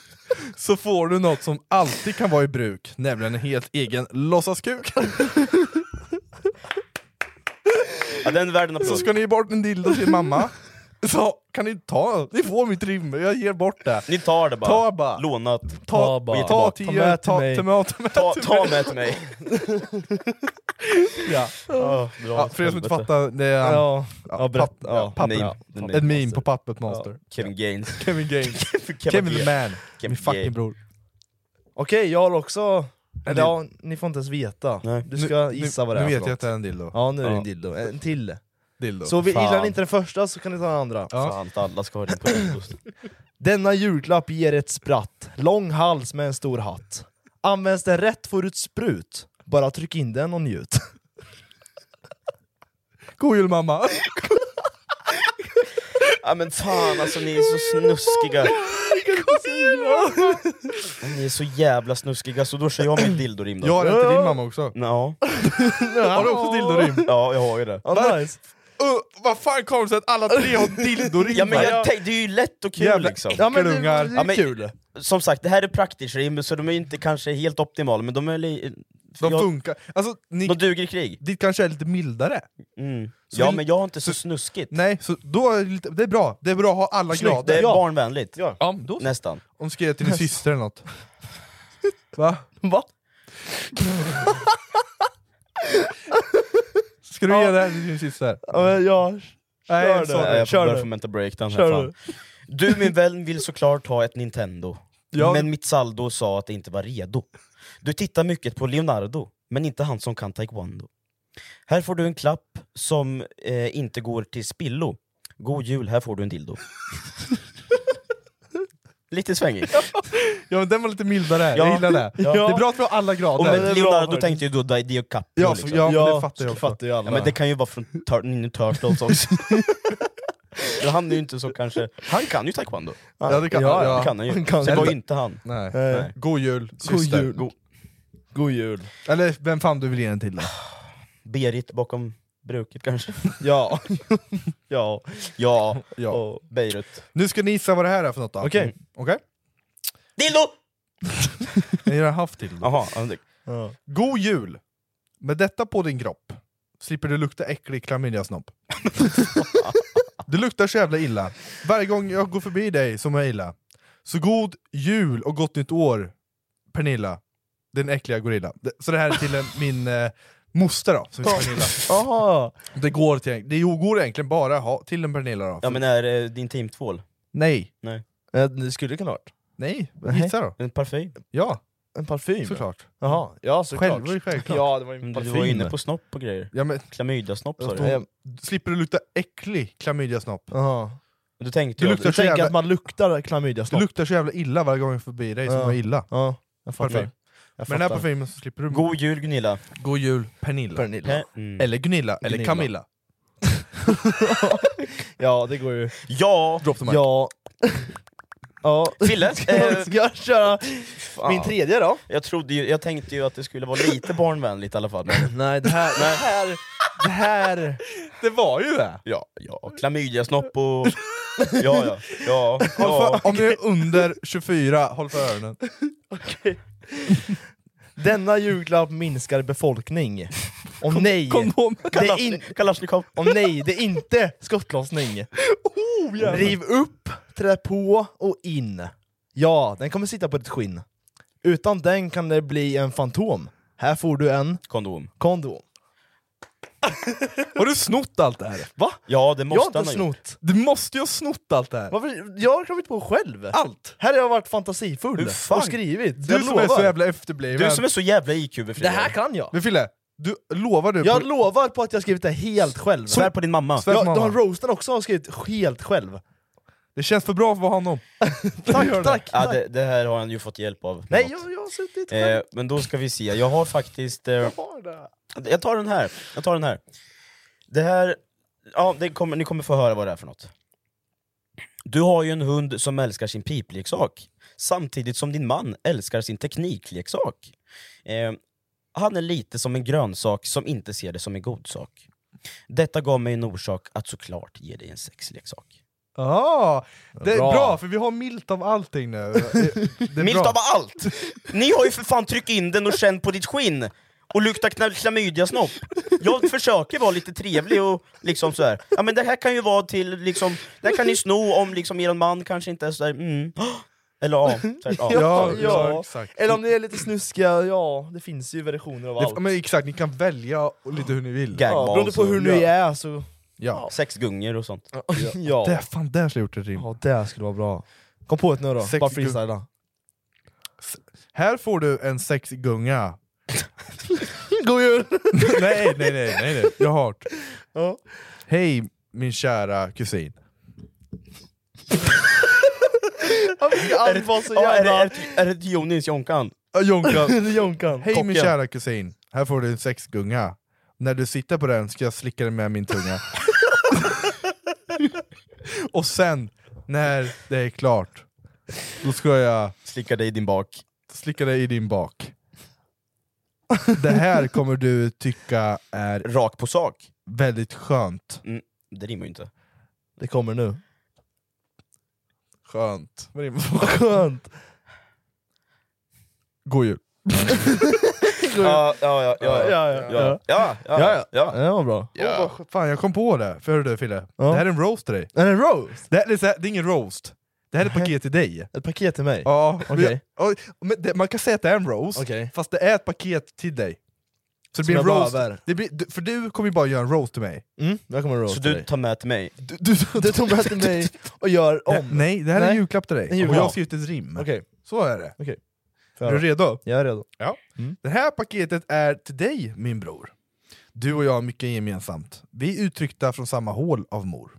D: <laughs> så får du något som alltid kan vara i bruk, nämligen en helt egen låtsaskuk.
C: Ja, den är värd en applåd.
D: Så ska ni ge bort en dildo till mamma, så kan ni ta, ni får mitt rim, jag ger bort det.
C: Ni tar det bara.
D: Ta bara.
C: Lånat.
D: Ta,
E: bara.
D: ta till
E: Ta
D: er,
E: med till
D: ta
E: mig.
D: till mig, ta med
C: Ta,
D: till
C: ta
D: mig.
C: med till mig.
D: Ja.
C: Ja, bra.
D: Ja, för er som inte fattar, det är han-
E: Ja,
D: ja,
E: ja, berätta.
D: papp-
E: Ja.
D: papper.
C: Meme. The Meme
D: ett meme
C: Monster.
D: på Puppet Master.
C: Kevin Gaines.
D: Kevin Gaines, Kevin the
C: Gaines.
D: man,
C: Kevin
D: min fucking
C: Gaines.
D: bror.
E: Okej, jag har också...
D: Eller-
E: Eller, ja, ni får inte ens veta.
C: Nej.
E: Du ska gissa vad det är
D: Nu
E: för
D: vet jag
E: något.
D: att det är en dildo.
E: Ja, nu är det
D: Ja.
E: en dildo. En till.
D: dildo.
E: Så vi, gillar
C: Fan.
E: ni inte den första så kan ni ta den andra.
D: Ja.
C: Fan, inte alla ska ha
E: <clears throat>
C: det på ost.
E: Denna julklapp ger ett spratt, lång hals med en stor hatt. Används den rätt får du ett sprut. Bara tryck in den och njut. <laughs>
D: God jul mamma!
C: Ja men fan alltså ni är så snuskiga. Ni är så jävla snuskiga, så då kör jag mitt dildorim då.
D: Jag har en till din mamma också.
C: Ja.
D: Har du
E: <laughs>
D: också dildorim?
C: ja, jag har ju det.
E: Ja, nice.
D: Uh, vad fan kommer det sig att alla tre har <laughs> dildorim?
C: Ja, men jag tänk, det är ju lätt och kul
D: Jävla
C: liksom.
E: Ja, men det, det
D: Äckelungar.
E: är
C: Ja, men-
E: kul.
C: Som sagt, det här är praktiskt rim, så de är ju inte kanske helt optimala, men de är li-
D: De
C: jag-
D: funkar. Alltså, ni,
C: De duger i krig.
D: ditt kanske är lite mildare?
C: Mm.
D: Så
C: Ja
D: vi-
C: men jag har inte så
D: så-
C: snuskigt.
D: Nej, så då är det, lite, det är bra. Det är bra att ha alla
C: Snyggt, det
D: grader.
C: är barnvänligt.
D: Ja, men då,
C: Nästan.
D: om du ska ge
E: <laughs>
D: till din syster eller något. Va?
E: Va?
D: Ska du ge det här till din syster?
E: Ja, men jag...
D: Nej,
E: Kör
D: sorry.
E: det.
C: Nej, jag
E: Kör
C: börjar
E: nu.
C: få mental breakdown här
E: Kör
C: fan. Du min vän vill såklart ha ett Nintendo,
D: Ja.
C: men mitt saldo sa att det inte var redo. Du tittar mycket på Leonardo, men inte han som kan taekwondo. Här får du en klapp som eh, inte går till spillo. God jul, här får du en
E: <laughs>
C: dildo. Lite svängig.
D: Ja, men den var lite mildare.
C: Ja.
D: Jag gillar det.
C: Ja.
D: Det är bra att vi har alla grader.
C: Och med Leonardo
E: hörni.
C: tänkte ju då Di Caprio
D: ja, för,
C: liksom.
D: ja,
E: Ja,
D: men det fattar jag också.
E: fattar ju alla.
C: Ja, men det kan ju vara från Tur- Ninja Turtles också. Men han är ju inte så kanske... Han kan ju taekwondo.
D: Ja, det kan
E: Ja,
D: han.
E: ja.
C: Det kan han ju.
E: Han kan.
C: Så det var ju inte han.
D: Nej.
E: Nej.
D: God jul,
E: God
D: syster.
E: jul. God. jul.
D: Eller vem fan du vill ge den till då.
C: Berit bakom bruket kanske.
E: Ja.
C: Ja. Ja.
D: Ja.
C: Och Beirut.
D: Nu ska ni gissa vad det här är för något då. Mm.
E: Okej.
D: Okej?
C: Dildo!
D: Ni har haft till då.
C: Jaha. ja, det-
E: ja.
D: God jul! Med detta på din kropp slipper du lukta äcklig
E: <laughs>
D: klamydiasnopp. du luktar så jävla illa. Varje gång jag går förbi dig som jag illa. Så god jul och gott nytt år, Pernilla. Den äckliga gorilla. Det- Så det här är
E: <laughs>
D: till en, min eh, moster då, som heter Pernilla.
E: Aha.
D: Det går, till, det går egentligen bara ha, till en Pernilla då.
C: Ja men är det din teamtvål?
D: Nej.
E: Eh, Det skulle kunna varit.
D: Nej,
E: Nej.
D: gissa då.
C: En parfym?
D: Ja.
E: En parfym?
D: Såklart.
E: Jaha, ja såklart.
D: Själv var det självklart.
E: Ja, det var ju
C: Men
E: en
C: Du
E: parfym.
C: var inne på snopp och grejer.
D: Ja, men,
C: Klamydiasnopp sa
D: jag
C: du. Ehm,
D: stod- slipper du lukta äcklig klamydiasnopp?
E: Jaha.
C: Du tänkte
D: Du
C: ju...
D: luktar
E: Du
D: så
E: tänker att
D: jävla,
E: man luktar
D: det
E: klamydiasnopp?
D: luktar så jävla illa varje gång jag är förbi dig som
E: Ja.
D: var illa.
E: Ja, jag fattar.
D: Parfym.
E: Jag
D: Med den här
E: fattar.
D: parfymen så slipper du...
C: God jul Gunilla.
D: God jul Pernilla.
E: Pernilla.
C: Mm.
D: Eller Gunilla, eller
E: Gunilla.
D: Camilla.
E: Ja, det går ju.
C: Ja! <laughs>
D: Drop the mic.
E: Ja. ja.
C: Fille, eh,
E: <laughs> Ska jag köra min tredje då?
C: jag, trodde ju, jag tänkte ju att det skulle vara lite barnvänligt i alla fall. Men,
E: Nej, <laughs> det här... Det här... Det här...
D: Det var ju det!
C: ja, ja, klamydiasnopp och... Ja, ja, ja. ja.
D: Om du är under 24, håll för öronen.
E: Denna julklapp minskar befolkning. Och nej, det är in,
C: Kalashnikov.
E: och nej, det är inte skottlossning.
C: Oh,
E: Riv upp, trä på och in. Ja, den kommer sitta på ditt skinn. Utan den kan det bli en fantom. Här får du en
C: Kondom.
E: kondom.
D: Har du snott allt det här?
E: Va?
C: Ja, det
E: Jag har
C: måste
E: inte
C: han ha gjort.
E: snott.
D: Du måste ju ha snott allt det här!
E: Varför? Jag har kommit på själv.
D: Allt!
E: Här har jag varit fantasifull
C: Hur fan?
E: och skrivit.
D: Du
E: jag
D: som är så
E: lovar.
D: jävla efterbliven.
C: Du som är så jävla IQ-befriad.
E: Det här kan jag.
D: Men Fille, du, lovar du?
E: Jag
D: på-
E: lovar på att jag skrivit det helt själv.
C: Svär på din mamma.
D: Svär-
E: Ja,
D: mamma.
E: de roasten också har skrivit helt själv.
D: det känns för bra för att vara honom.
E: Tack,
D: Gör
E: tack,
D: det.
E: tack.
C: Ja, det, det här har han ju fått hjälp av.
E: Nej, jag, jag har suttit själv.
C: Eh, men då ska vi se, jag har faktiskt... Eh,
E: Har det.
C: jag tar den här, jag tar den här. Det här, ja, det kommer, ni kommer få höra vad det är för något. Du har ju en hund som älskar sin pipleksak, samtidigt som din man älskar sin teknikleksak. Eh, han är lite som en grönsak som inte ser det som en god sak. Detta gav mig en orsak att såklart ge dig en sexleksak.
D: Ah, det är
E: Bra.
D: bra. för vi har milt av allting nu. Det, det
C: <laughs>
D: är
C: Milt
D: bra.
C: av allt! Ni har ju för fan tryckt in den och känt på ditt skinn och luktat kna- klamydiasnopp. Jag försöker vara lite trevlig och liksom så här. Ja men det här kan ju vara till liksom, det här kan ni sno om liksom er man kanske inte är sådär mm. Eller ja, tvärtom.
D: Ja, ja,
E: <laughs> Ja.
D: exakt.
E: Eller om ni är lite snuskiga, ja, det finns ju versioner av allt.
D: Det, men exakt, ni kan välja och lite hur ni vill.
C: Gag
E: Ja,
C: balls
E: beroende på
C: och-
E: hur ni är så...
D: Ja.
C: Sex gungor och sånt.
E: <laughs> Ja,
D: Det, fan, där skulle jag gjort ett rim.
E: ja det skulle vara bra. Kom på ett nu då,
D: Sex
E: bara freestyla.
D: Här får du en sexgunga.
E: <laughs> God jul!
D: <laughs> nej, nej, nej, nej, nej. jag har hört.
E: Ja.
D: Hej min kära kusin.
E: Ja, vi ska alltid vara så
C: Ja, är, det,
E: jävla...
C: är, det, är det till Jonis Jonkan?
D: Ja, Jonkan.
E: <laughs> Det är Jonkan.
D: Hej min
C: Kocken.
D: kära kusin, här får du en sexgunga. När du sitter på den ska jag slicka dig med
C: <laughs>
D: min tunga. och sen, när det är klart, då ska jag
C: Slickar dig i din bak.
D: slicka dig i din bak. Det här kommer du tycka är
C: Rakt på sak.
D: väldigt skönt.
C: Det rimmar ju inte.
E: Det kommer nu.
D: Skönt.
E: Skönt!
D: God jul.
C: Ja, ja, ja, ja, ja,
E: ja.
C: ja, ja, ja, ja.
E: Det var bra.
D: Åh, vad Fan jag kom på det, för du Fille,
E: Ja.
D: det här är en roast till dig.
E: Är det en roast?
D: Det, här, det, är så här, det är ingen roast, det här är ett paket till dig.
E: Ett paket till mig?
D: Ja, men
E: Okej.
D: jag- oj, men det, man kan säga att det är en roast,
E: Okej.
D: fast det är ett paket till dig. Så det blir en
E: jag
D: roast.
E: behöver.
D: Det blir, du- för du kommer ju bara göra en roast till mig.
E: Mm, jag kommer en roast
C: Så
E: till
C: du
E: dig.
C: tar med till mig?
E: Du, du, du tog med till
D: <laughs>
E: mig och gör om?
D: Nej, det här är
E: Nej.
D: en julklapp till dig.
E: En julklapp.
D: Och jag har skrivit ett rim.
E: Okej,
D: Så är det.
E: Okej. Får
D: Är
E: jag
D: du
E: höra?
D: redo?
E: jag är redo.
D: Det här paketet är till dig, min bror. Du och jag har mycket gemensamt. Vi är uttryckta från samma hål av mor.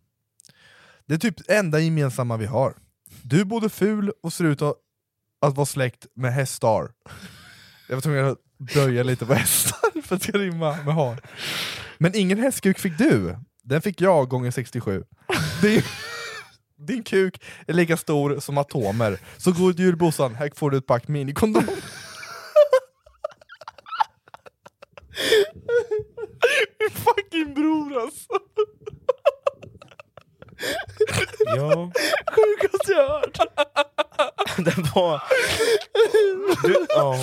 D: Det är typ det enda gemensamma vi har. Du är både ful och ser ut att att vara släkt med hästar. Jag var tvungen att böja lite på hästar för att det ska rimma med har. Men ingen hästkuk fick du. Den fick jag gånger 67. Din, din kuk är lika stor som atomer. Så god jul Bossan, här får du ett pack minikondom. Min fucking bror alltså!
C: Ja.
E: Sjukaste jag hört!
C: Den var...
E: <laughs>
C: Du, ja.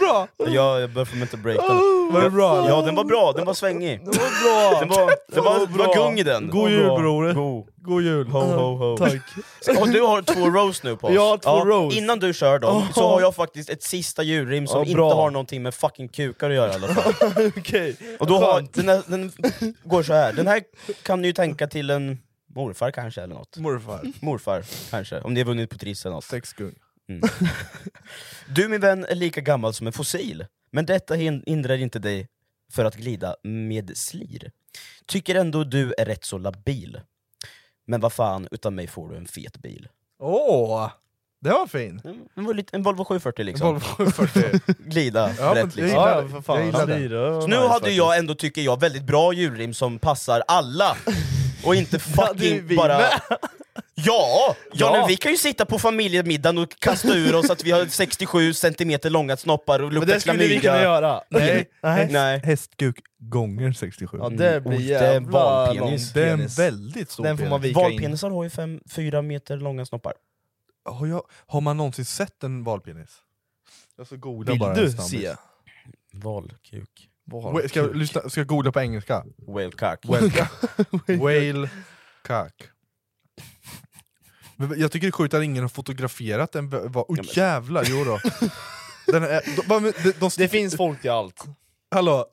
E: Bra! Oh,
C: Jag, jag börjar få mental breakdown.
D: Var det bra?
C: Ja, den var bra, den var svängig.
E: Det var
C: <laughs>
E: bra!
C: Den var, det var, det var
E: bra.
C: gung i den.
D: God jul, bror.
C: God.
D: God jul!
C: Ho, ho, ho.
E: Tack.
C: Så- <laughs> Och du har två rows nu på oss.
E: Jag har två rows.
C: Innan du kör dem, så
E: Oh.
C: har jag faktiskt ett sista julrim som
E: Ja,
C: inte
E: bra.
C: har någonting med fucking kukar att göra i alla fall.
E: <laughs> Okej.
C: Och då har, den, här, den går så här. den här kan ni ju tänka till en morfar kanske, eller något.
D: Morfar.
C: Morfar, kanske. Om ni har vunnit på Triss eller något.
D: Sexgung.
C: Du min vän är lika gammal som en fossil, men detta hin- hindrar inte dig för att glida med slir. Tycker ändå du är rätt så labil. Men vad fan, utan mig får du en fet bil.
D: Åh! det var fin!
C: En, Vol- en Volvo 740 liksom.
D: Mm. Volvo 740.
C: glida
D: Ja, men
C: rätt
D: jag
C: liksom.
D: gillar det. Jag gillar
E: Alltså,
D: det.
C: Så nu hade jag ändå, tycker jag, väldigt bra julrim som passar alla. Och
D: <laughs>
C: inte fucking bara... Ja! Ja,
D: Ja.
C: Nu, vi kan ju sitta på familjemiddagen och kasta ur oss att vi har 67 centimeter långa snoppar och luktar
D: <laughs> Nej, häst,
C: Nej.
D: hästkuk gånger 67.
C: Ja, det blir Oj, det är en jävla valpenis. lång
D: Det är en
C: penis.
D: väldigt stor
E: Den får man
D: penis.
E: vika in.
C: Valpenisar har ju fem, fyra meter långa snoppar.
D: Har, jag, har man någonsin sett en valpenis? Jag ska googla
E: Vill
D: bara
E: du
D: en snabbis.
E: se?
C: Valkuk.
D: Wait, Ska jag, lyssna, ska jag googla
E: <laughs>
D: på engelska?
C: Whalecock.
D: Whale- Whale cock. Men Jag tycker det är sjukt att ingen har fotograferat en... va- va- Oj jävlar,
E: <laughs>
D: jo då. Den är, de, de, de, de,
E: Det finns folk i allt.
D: <laughs> Hallå!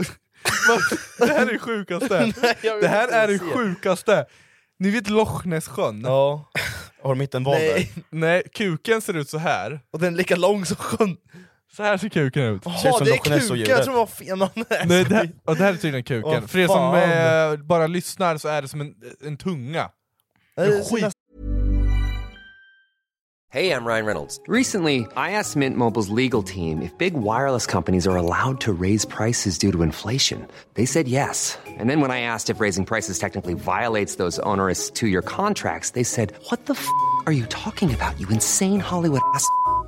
D: det här är
E: <laughs>
D: det sjukaste!
E: jag vill
D: Det här
E: inte
D: är det
E: se.
D: sjukaste! Ni vet Loch Ness-sjön?
E: <laughs> Ja.
C: Har de inte en val där?
E: Nej.
D: Nej, kuken ser ut så här.
E: Och den är lika lång som sjön.
D: Så här ser kuken ut.
E: Jaha,
C: som
E: det är
C: Loch Ness och djuret.
E: kuken! Jag tror det var fenan.
D: Nej, det, här, och det här är tydligen kuken.
E: Åh,
D: För er som
E: fan.
D: eh, bara lyssnar så är det som en, en tunga.
E: Det är
D: skit.
E: nästan-
J: Hey, I'm Ryan Reynolds. Recently, I asked Mint Mobile's legal team if big wireless companies are allowed to raise prices due to inflation. They said yes. And then when I asked if raising prices technically violates those onerous two year contracts, they said, What the f are you talking about, you insane Hollywood ass? f-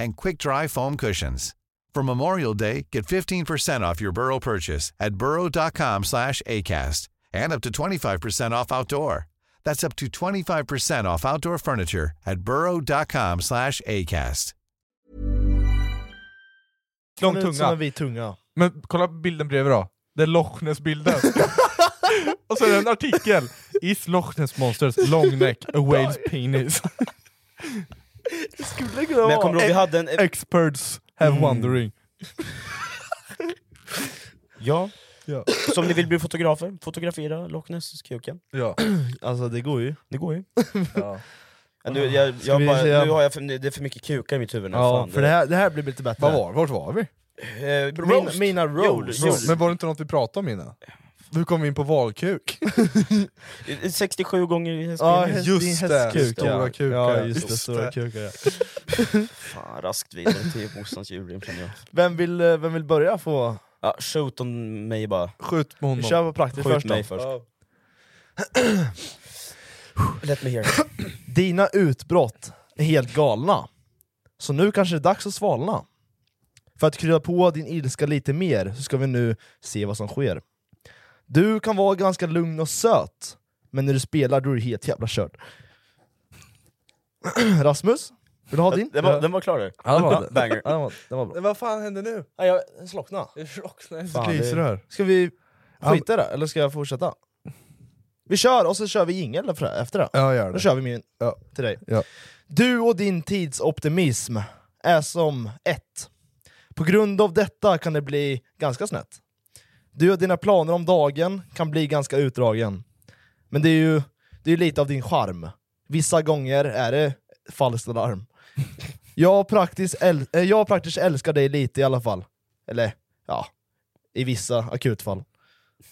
K: and quick-dry foam cushions. For Memorial Day, get 15% off your Burrow purchase at burrow.com/acast and up to 25% off outdoor. That's up to 25% off outdoor furniture at burrow.com/acast.
D: Lång
E: Den är Som
D: tunga.
E: en vit tunga.
D: Men kolla bilden bredvid då. Det är Loch Ness-bilden. och så är det en artikel. Is Loch Ness monsters long neck a whale's penis?
E: Skulle kunna
C: Men
E: vara.
C: jag kommer ihåg, vi hade en... eh,
D: Experts have wondering.
C: Ja.
D: Ja.
C: Så om ni vill bli fotografer, fotografera Loch Ness-kuken.
D: Ja.
E: Alltså det går ju.
C: Det
E: <laughs>
C: går ju.
D: Ja.
C: Ja, nu, jag,
E: Ska
C: jag
E: vi
C: bara,
E: säga-
C: nu har jag för, det är för mycket kukar i mitt huvud nu.
E: Ja,
C: fan,
E: för det här, det här blir lite bättre.
D: Vad var, vart var vi?
C: Eh,
E: Mina,
C: roast.
E: mina roast.
C: Jord- jord.
D: Men var det inte något vi pratade om innan? Hur kom vi in på valkuk?
C: 67 gånger i
E: Ja,
C: hästbilden.
E: häst,
D: Just
E: din
D: det,
E: hästkuk, ja.
D: stora kukar.
E: Ja, just det,
D: Just
E: stora
D: det.
E: kukar. ja.
C: Fan, raskt vidare till morsans julrim känner jag.
E: Vem vill, eh, vem vill börja få...
C: Ja, shoot om mig bara.
D: Skjut med
E: Vi
D: honom.
E: kör på praktiskt
C: Skjut
E: först då.
C: mig först.
E: Ja.
C: Let me hear.
E: Dina utbrott är helt galna. Så nu kanske det är dags att svalna. För att krydda på din ilska lite mer så ska vi nu se vad som sker. Du kan vara ganska lugn och söt, men när du spelar då är du helt jävla körd. <clears throat> Rasmus, vill du ha din?
C: Den var, den var klar där.
E: Ja, den var,
C: Banger.
E: Ja, den var, den var bra.
D: Men vad fan hände nu?
E: Ja, jag slocknade.
D: Fan, det...
E: Ska vi
D: Ja,
E: skita i det, eller ska jag fortsätta? Vi kör, och så kör vi jingel efter det- efter det.
D: Ja, gör
E: Då
D: det.
E: kör vi min
D: Ja.
E: till dig.
D: Ja.
E: Du och din tids optimism är som ett. På grund av detta kan det bli ganska snett. Du och dina planer om dagen kan bli ganska utdragen. Men det är ju det är lite av din charm. Vissa gånger är det falskt alarm. <laughs> Jag praktiskt, äl- eh, jag praktiskt älskar dig lite i alla fall. Eller ja, i vissa akutfall.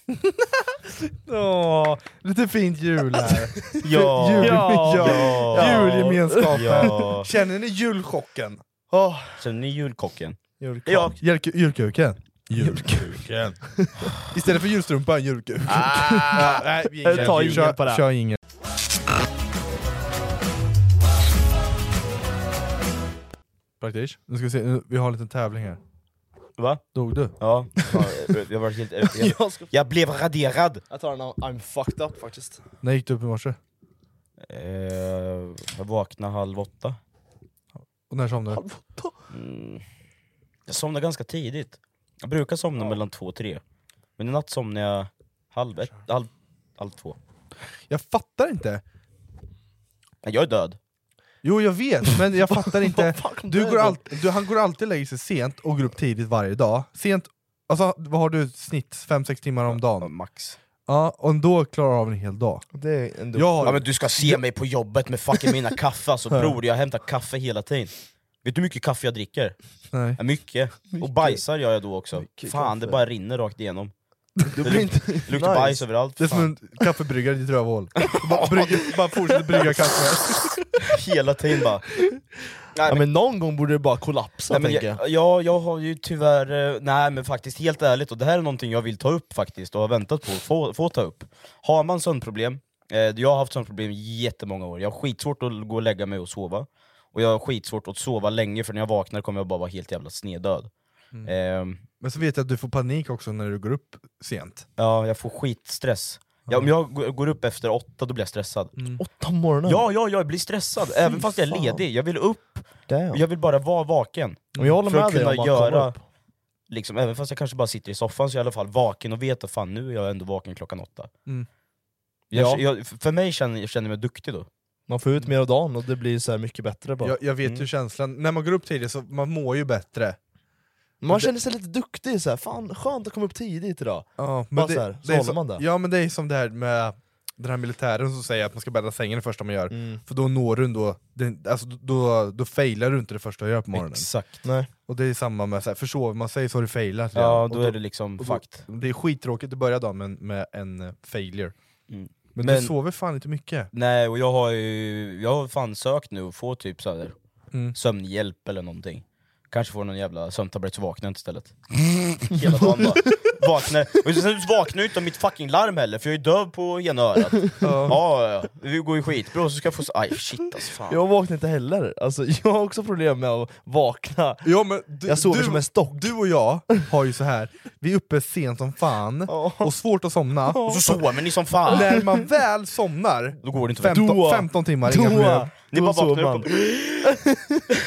D: <laughs>
E: <laughs>
D: Åh, lite fint jul här.
C: Ja.
D: Jul,
E: Ja.
D: ja. Julgemenskapen.
C: Ja.
D: Känner ni julchocken?
E: Oh,
C: Känner ni julkocken?
E: julklapp.
C: Ja.
D: Julk- Julkuken? Julkuken. <laughs> Istället för julstrumpa, en julkuk. Ja, <laughs> nej, vi
E: Ta
D: Eh, kör-
E: ingen på det.
D: Kör ingen. Praktisch. Nu ska vi se, nu- vi har en liten tävling här.
C: Va?
D: Dog du? <laughs>
C: Ja. Fan, jag- Jag var helt... Jag,
E: Jag, ska,
C: jag blev raderad!
E: jag tar den av I'm fucked up faktiskt.
D: När gick du upp i morse?
C: Eh, jag vaknade halv åtta.
D: Och när somnade du?
C: Mm. Jag somnar ganska tidigt. Jag brukar somna mellan två och tre. Men i natt somnade jag halv ett, halv, halv två.
D: Jag fattar inte.
C: Nej, Jag är död.
D: Jo jag vet, men
C: <laughs>
D: jag fattar inte. Du
C: det
D: går
C: då?
D: all, du, han går alltid och lägger sig sent och går upp tidigt varje dag. Sent, alltså, vad har du snitt? 5-6 timmar om dagen?
C: max.
D: Ja, och då klarar du av en hel dag.
E: Det är ändå
D: Jag har-
C: Ja, men du ska se mig på jobbet med fucking mina kaffe alltså bror, jag hämtar kaffe hela tiden. Vet du hur mycket kaffe jag dricker?
D: Nej.
C: Ja, Mycket. Och bajsar gör jag då också. fan, det
E: kaffe.
C: bara rinner rakt igenom.
E: Du
C: Det
E: blir inte...
C: Det luktar
E: Nice.
C: bajs överallt.
D: Det är som
C: Fan.
D: en kaffebryggare i
C: <laughs>
D: ditt rövhål. Bara, brygger, bara fortsätter brygga kaffe.
C: Hela tiden bara. Nej,
E: Ja, men någon gång borde det bara kollapsa
C: Nej, men
E: tänker jag.
C: jag, ja, jag har ju tyvärr, eh, nej men faktiskt helt ärligt, och det här är någonting jag vill ta upp faktiskt, och har väntat på att få, få ta upp. Har man sömnproblem, eh, jag har haft sömnproblem i jättemånga år, jag har skitsvårt att gå och lägga mig och sova, och jag har skitsvårt att sova länge, för när jag vaknar kommer jag bara vara helt jävla snedöd.
E: Mm.
C: Ehm,
D: Men så vet jag att du får panik också när du går upp sent.
C: ja, jag får skitstress. Ja, om jag g- går upp efter åtta, då blir jag stressad.
E: Åtta på morgonen?
C: Ja, ja, jag blir stressad, även fast jag är
E: Mm. fan.
C: ledig. Jag vill upp,
E: Damn.
C: jag vill bara vara vaken.
E: Men jag håller
C: för
E: med
C: att
E: dig
C: kunna
E: om man
C: göra-
E: göra... upp.
C: liksom, även fast jag kanske bara sitter i soffan så är jag i alla fall vaken och vet att fan nu är jag ändå vaken klockan åtta.
D: Mm.
C: Jag,
E: Ja.
C: jag, för mig känner jag känner mig duktig då.
E: Man får ut mer av dagen och det blir så här mycket bättre bara.
D: Jag, jag vet ju känslan, när man går upp tidigt så man mår ju bättre.
E: Man känner sig lite duktig, så här, fan skönt att komma upp tidigt idag.
D: Ja,
E: Bara så här, så
D: är
E: håller
D: som-
E: man det.
D: Ja men det är som det här med den här militären som säger att man ska bädda sängen det första man gör, för då når du ändå, den, alltså, då, då failar du inte det första du gör på morgonen.
C: Exakt.
E: Nej.
D: Och det är samma med, så här, försover man sig så har du failat redan.
C: Ja,
D: Och
C: då är det liksom
D: och då-
C: fakt.
D: Det är skittråkigt att börja dagen med, med en eh, failure.
C: Mm.
D: Men,
C: Men-
D: du sover fan inte mycket.
C: Nej, och jag har ju jag har fan sökt nu och får typ så här,
D: Mm.
C: sömnhjälp eller någonting. Kanske får någon jävla sömntablett så vaknar jag inte istället. Hela dagen bara. Vaknar. Och sen vaknar jag inte av mitt fucking larm heller, för jag är döv på ena örat. ja, ja, ja. Det går ju skitbra, och så ska jag få... så- Aj shit alltså fan.
E: Jag vaknar inte heller, alltså, <laughs> jag har också problem med att vakna.
D: Ja, men du,
E: Jag sover
D: du,
E: som en stock.
D: Du och jag har ju så här. vi är uppe sent som fan, och svårt att somna.
C: Och så sover ni som fan!
D: När man väl somnar,
C: Då går det inte att
D: 15,
E: Då-
D: 15 timmar, inga problem.
E: Då,
C: Ni bara vaknar upp och...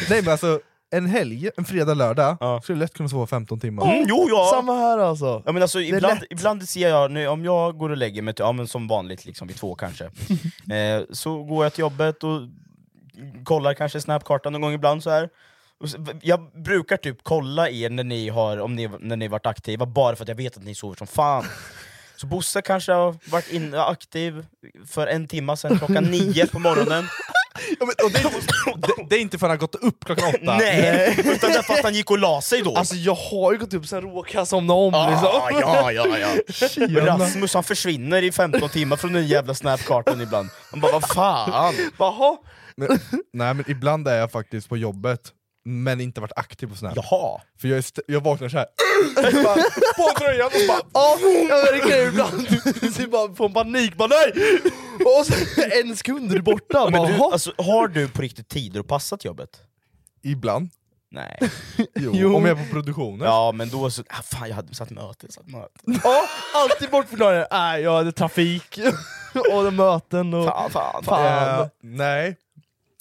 D: Nej men alltså, en helg, en fredag, lördag,
C: Ja.
D: skulle lätt kunna sova 15 timmar.
C: Mm, jo, ja.
E: Samma här alltså.
C: Ja, men alltså,
E: är
C: ibland,
E: lätt.
C: ibland ser jag, nu, om jag går och lägger mig, till- ja, men som vanligt liksom, vid två kanske, eh, så går jag till jobbet och kollar kanske snapkartan någon gång ibland så här. Och så- Jag brukar typ kolla er när ni har om ni, när ni varit aktiva, bara för att jag vet att ni sover som fan. Så Bosse kanske har varit in, aktiv för en timma sedan, klockan nio på morgonen.
D: Ja, men, och det, är inte, det, det är inte förrän han gått upp klockan
E: <laughs>
D: åtta.
C: Nej! Utan det är för att han gick och la sig då.
E: Alltså jag har ju gått upp sen råkar jag somna om
C: Ah,
E: liksom.
C: ja, ja, ja. Rasmus han försvinner i 15 timmar från den jävla snapkartan ibland. Man bara vad fan?
E: Jaha,
D: Men, nej men ibland är jag faktiskt på jobbet, men inte varit aktiv på Snap.
C: Jaha.
D: För jag, är st- jag vaknar så här. <clears throat> bara, på tröjan och bara...
E: Ja, jag märker det ibland. Så jag bara får en panik, bara nej! Och så <laughs> en sekund är du borta,
C: Men
E: bara,
C: du,
E: "Jaha."
C: alltså, har du på riktigt tider att passa till jobbet?
D: Ibland.
C: Nej.
D: Jo,
E: Jo.
D: Om jag är på produktionen.
C: Ja men då så, ah, fan jag hade satt möte, jag satt möte.
E: Ja, alltid bortförklaringar. Nej, jag hade trafik, och det möten och...
C: Fan, fan, fan.
E: Fan.
D: Eh, nej,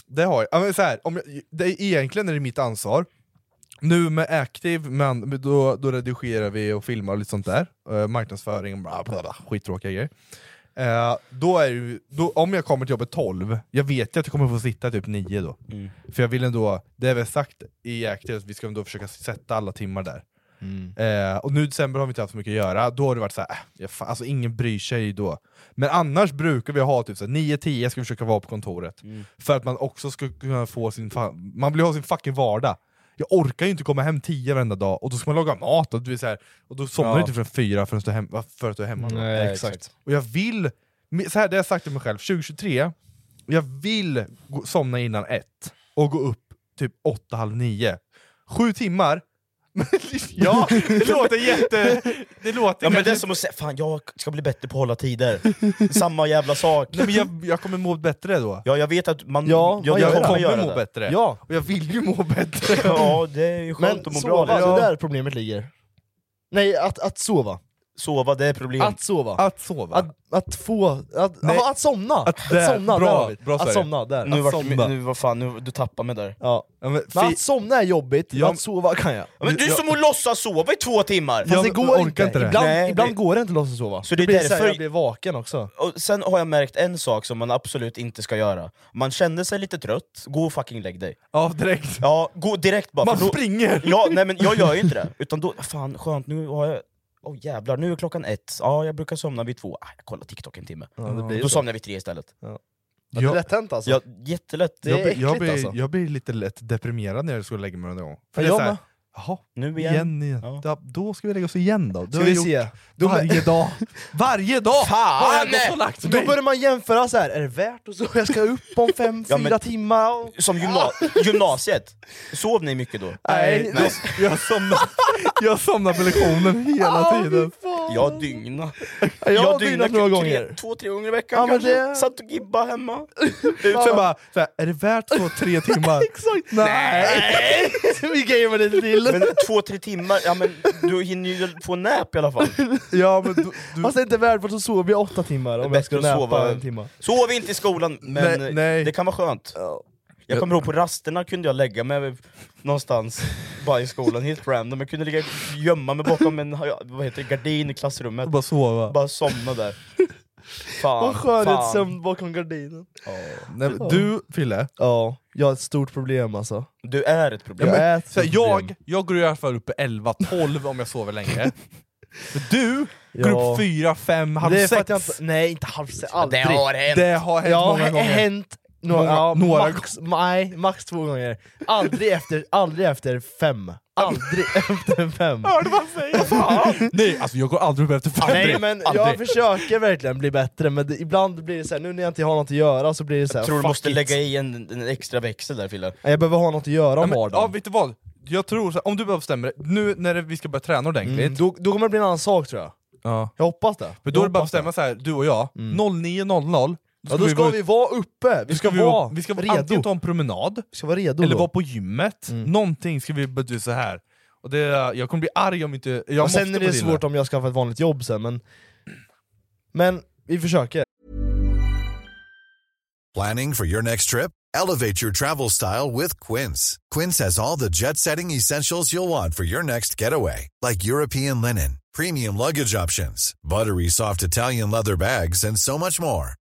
D: det har jag. Ja, Men så här, om jag det är, egentligen är det mitt ansvar. Nu med Active, men då, då redigerar vi och filmar och lite sånt där. Eh, marknadsföring, bla bla bla, skittråkiga grejer. Eh, då är det, ju- då, om jag kommer till jobbet 12, jag vet ju att jag kommer få sitta typ 9 då. För jag vill ändå, det är väl sagt i Active att vi ska ändå försöka sätta alla timmar där.
E: Mm.
D: Eh, och nu i december har vi inte haft så mycket att göra, då har det varit såhär, äh, jag fa- alltså ingen bryr sig då. Men annars brukar vi ha typ så här 9-10 ska vi försöka vara på kontoret.
E: Mm.
D: För att man också ska kunna få sin, fa- man vill ha sin fucking vardag. Jag orkar ju inte komma hem 10 varenda dag, och då ska man laga mat, och, du är så här, och då somnar du inte förrän 4 förrän du är hem- för att du är hemma. då.
E: Nej, exakt.
D: Och jag vill, så här, det har jag sagt till mig själv, 2023, jag vill gå, somna innan ett och gå upp typ åtta, halv nio. Sju timmar, <laughs> Men ja, det låter jätte... Det låter
C: Ja men
D: kanske-
C: det är som att säga, fan jag ska bli bättre på att hålla
D: <laughs>
C: tider. Samma jävla sak.
D: Nej, men jag, jag kommer må bättre då.
C: Ja jag vet att man...
E: Ja,
C: jag,
E: man
D: Jag
E: gör det.
D: kommer
C: göra
D: må
C: det.
D: bättre.
E: Ja.
D: Och jag vill ju må bättre.
C: Ja det är ju skönt
E: Men
C: att må bra.
E: sova, det
C: liksom.
E: är där problemet ligger. Nej, att, att sova.
C: Sova, det är problem.
E: Att sova.
D: Att sova.
E: Att, att få... Att, ja, att somna! Att,
C: där-
E: somna,
C: bra,
E: där har vi.
C: bra
E: Att
C: Sverige.
E: somna, där.
C: Nu
E: att
C: vart-
E: somna.
C: nu, vad fan, nu, du tappar mig där.
E: Ja.
D: men,
E: Men att somna är jobbigt, men
C: Ja.
E: att sova kan jag.
C: Ja, men du är som att låtsas sova i två timmar!
E: Fast det går inte. Ibland, ibland går det inte att låtsas sova.
C: Så det är
E: blir så här,
C: därför-
E: jag blir vaken också.
C: Och sen har jag märkt en sak som man absolut inte ska göra. Man känner sig lite trött, gå och fucking lägg dig.
D: Ja, direkt.
C: Ja, gå direkt bara.
E: Man
C: för då-
E: springer. <laughs>
C: Ja, nej men jag gör ju inte det. Utan då, fan skönt, nu har jag... Åh jävlar, nu är klockan ett. Ja, jag brukar somna vid två. Ah, jag kollar TikTok en timme.
E: Ja, det blir ju
C: då
E: så.
C: somnar jag vid tre istället.
E: Ja. Ja, det är lätt hänt alltså.
C: Ja, jättelätt. Det är
D: jag, blir-
C: äckligt
D: jag, blir,
C: alltså.
D: jag blir lite lätt deprimerad när jag ska lägga mig någon gång. För
E: Ja,
D: det är
E: jag
D: så här,
E: med.
D: jaha,
C: nu
E: igen.
D: igen, igen. Ja, då ska vi lägga oss igen då.
E: Ska
D: har
E: vi
D: jag
E: se.
D: gjort Varje dag! <laughs> Varje dag! har jag gått och lagt
E: Då
D: mig.
E: börjar man jämföra så här. är det värt att sova? Jag ska upp
C: <laughs>
E: om fem,
C: Ja,
E: fyra
C: men-
E: timmar. och-
C: Som gymna gymnasiet, sov ni mycket då?
E: Nej,
D: Nej. Jag somnar, jag somnar på lektionen hela tiden.
C: Jag dygna.
E: Ah, jag har dygnat några
C: tre-
E: gånger.
C: Två, tre gånger i veckan
E: Ja, men
C: kanske.
E: det-
C: Satt och gibba
E: <laughs>
C: hemma.
D: Sen bara, så här, är det värt två, tre timmar?
E: Exakt!
D: Nej! <laughs>
E: Vi gamer lite till.
C: Men två, tre timmar, ja men du hinner ju få nap i alla fall.
D: Ja, men du, du,
E: Fast det är inte värdefullt att sova i åtta timmar om jag ska
C: Bättre att
E: näpa
C: sova.
E: en timme.
C: Sov inte i skolan, men
D: Nej, nej.
C: det kan vara skönt. Jag kommer ihåg på rasterna kunde jag lägga mig någonstans, bara i skolan, helt random. Jag kunde ligga gömma mig bakom en ja, vad heter det, gardin i klassrummet,
D: bara sova.
C: bara somna där. Fan,
E: Och skönhetssömn
C: fan.
E: bakom gardinen.
D: Nej, men du Fille,
E: Ja, jag har ett stort problem alltså.
C: Du är ett problem.
E: Jag är ett
D: så här,
E: stort problem.
D: jag, jag går i alla fall upp 11-12 om jag sover <laughs> länge. Men Du går
E: Ja.
D: upp 4-5, halv
E: Det är för att
D: 6.
E: jag inte, nej, inte halv sex,
C: Ja, det
E: aldrig.
C: har hänt.
D: Det har hänt
E: ja,
D: många
E: hä-
D: gånger.
E: hänt några,
D: Många-
E: ja,
D: några
E: max, nej, max två gånger. Aldrig efter, aldrig efter fem. Aldrig <laughs> efter fem.
D: Hörde <laughs> vad han säger? Fan. Nej, alltså jag går aldrig upp efter 5.
E: Nej men jag
D: aldrig.
E: försöker verkligen bli bättre, men det, ibland blir det så här, nu när jag inte har något att göra så blir det så här,
C: Jag tror du
E: fuck
C: måste
E: it.
C: lägga i en, en extra växel där Fille.
E: Nej, Jag behöver ha något att göra
D: Ja,
E: om
D: men, ja,
E: vardagen.
D: vet du vad? Jag tror så här, om du behöver bestämma dig, nu när det- vi ska börja träna ordentligt,
E: Mm, då, då kommer det bli en annan sak tror jag.
D: ja.
E: Jag hoppas det.
D: men då är
E: Jag
D: det bara att
E: hoppas
D: bestämma så här, du och jag, 09.00,
E: Ja, då ska
D: gå
E: vi,
D: ut-
E: vara uppe, vi
D: då
E: ska,
D: ska vi,
E: vara
D: vi ska
E: redo.
D: antingen ta en promenad,
E: Vi ska vara redo
D: eller
E: då.
D: vara på gymmet,
E: Mm.
D: någonting ska vi börja så här. Och det, jag kommer bli arg om inte... Jag
E: och sen
D: måste
E: är det
D: få till
E: svårt om jag skaffar ett vanligt jobb sen, men... Men vi försöker.
K: Planning for your next trip? Elevate your travel style with Quince. Quince has all the jet setting essentials you'll want for your next getaway, like European linen, premium luggage options, buttery soft Italian leather bags, and so much more.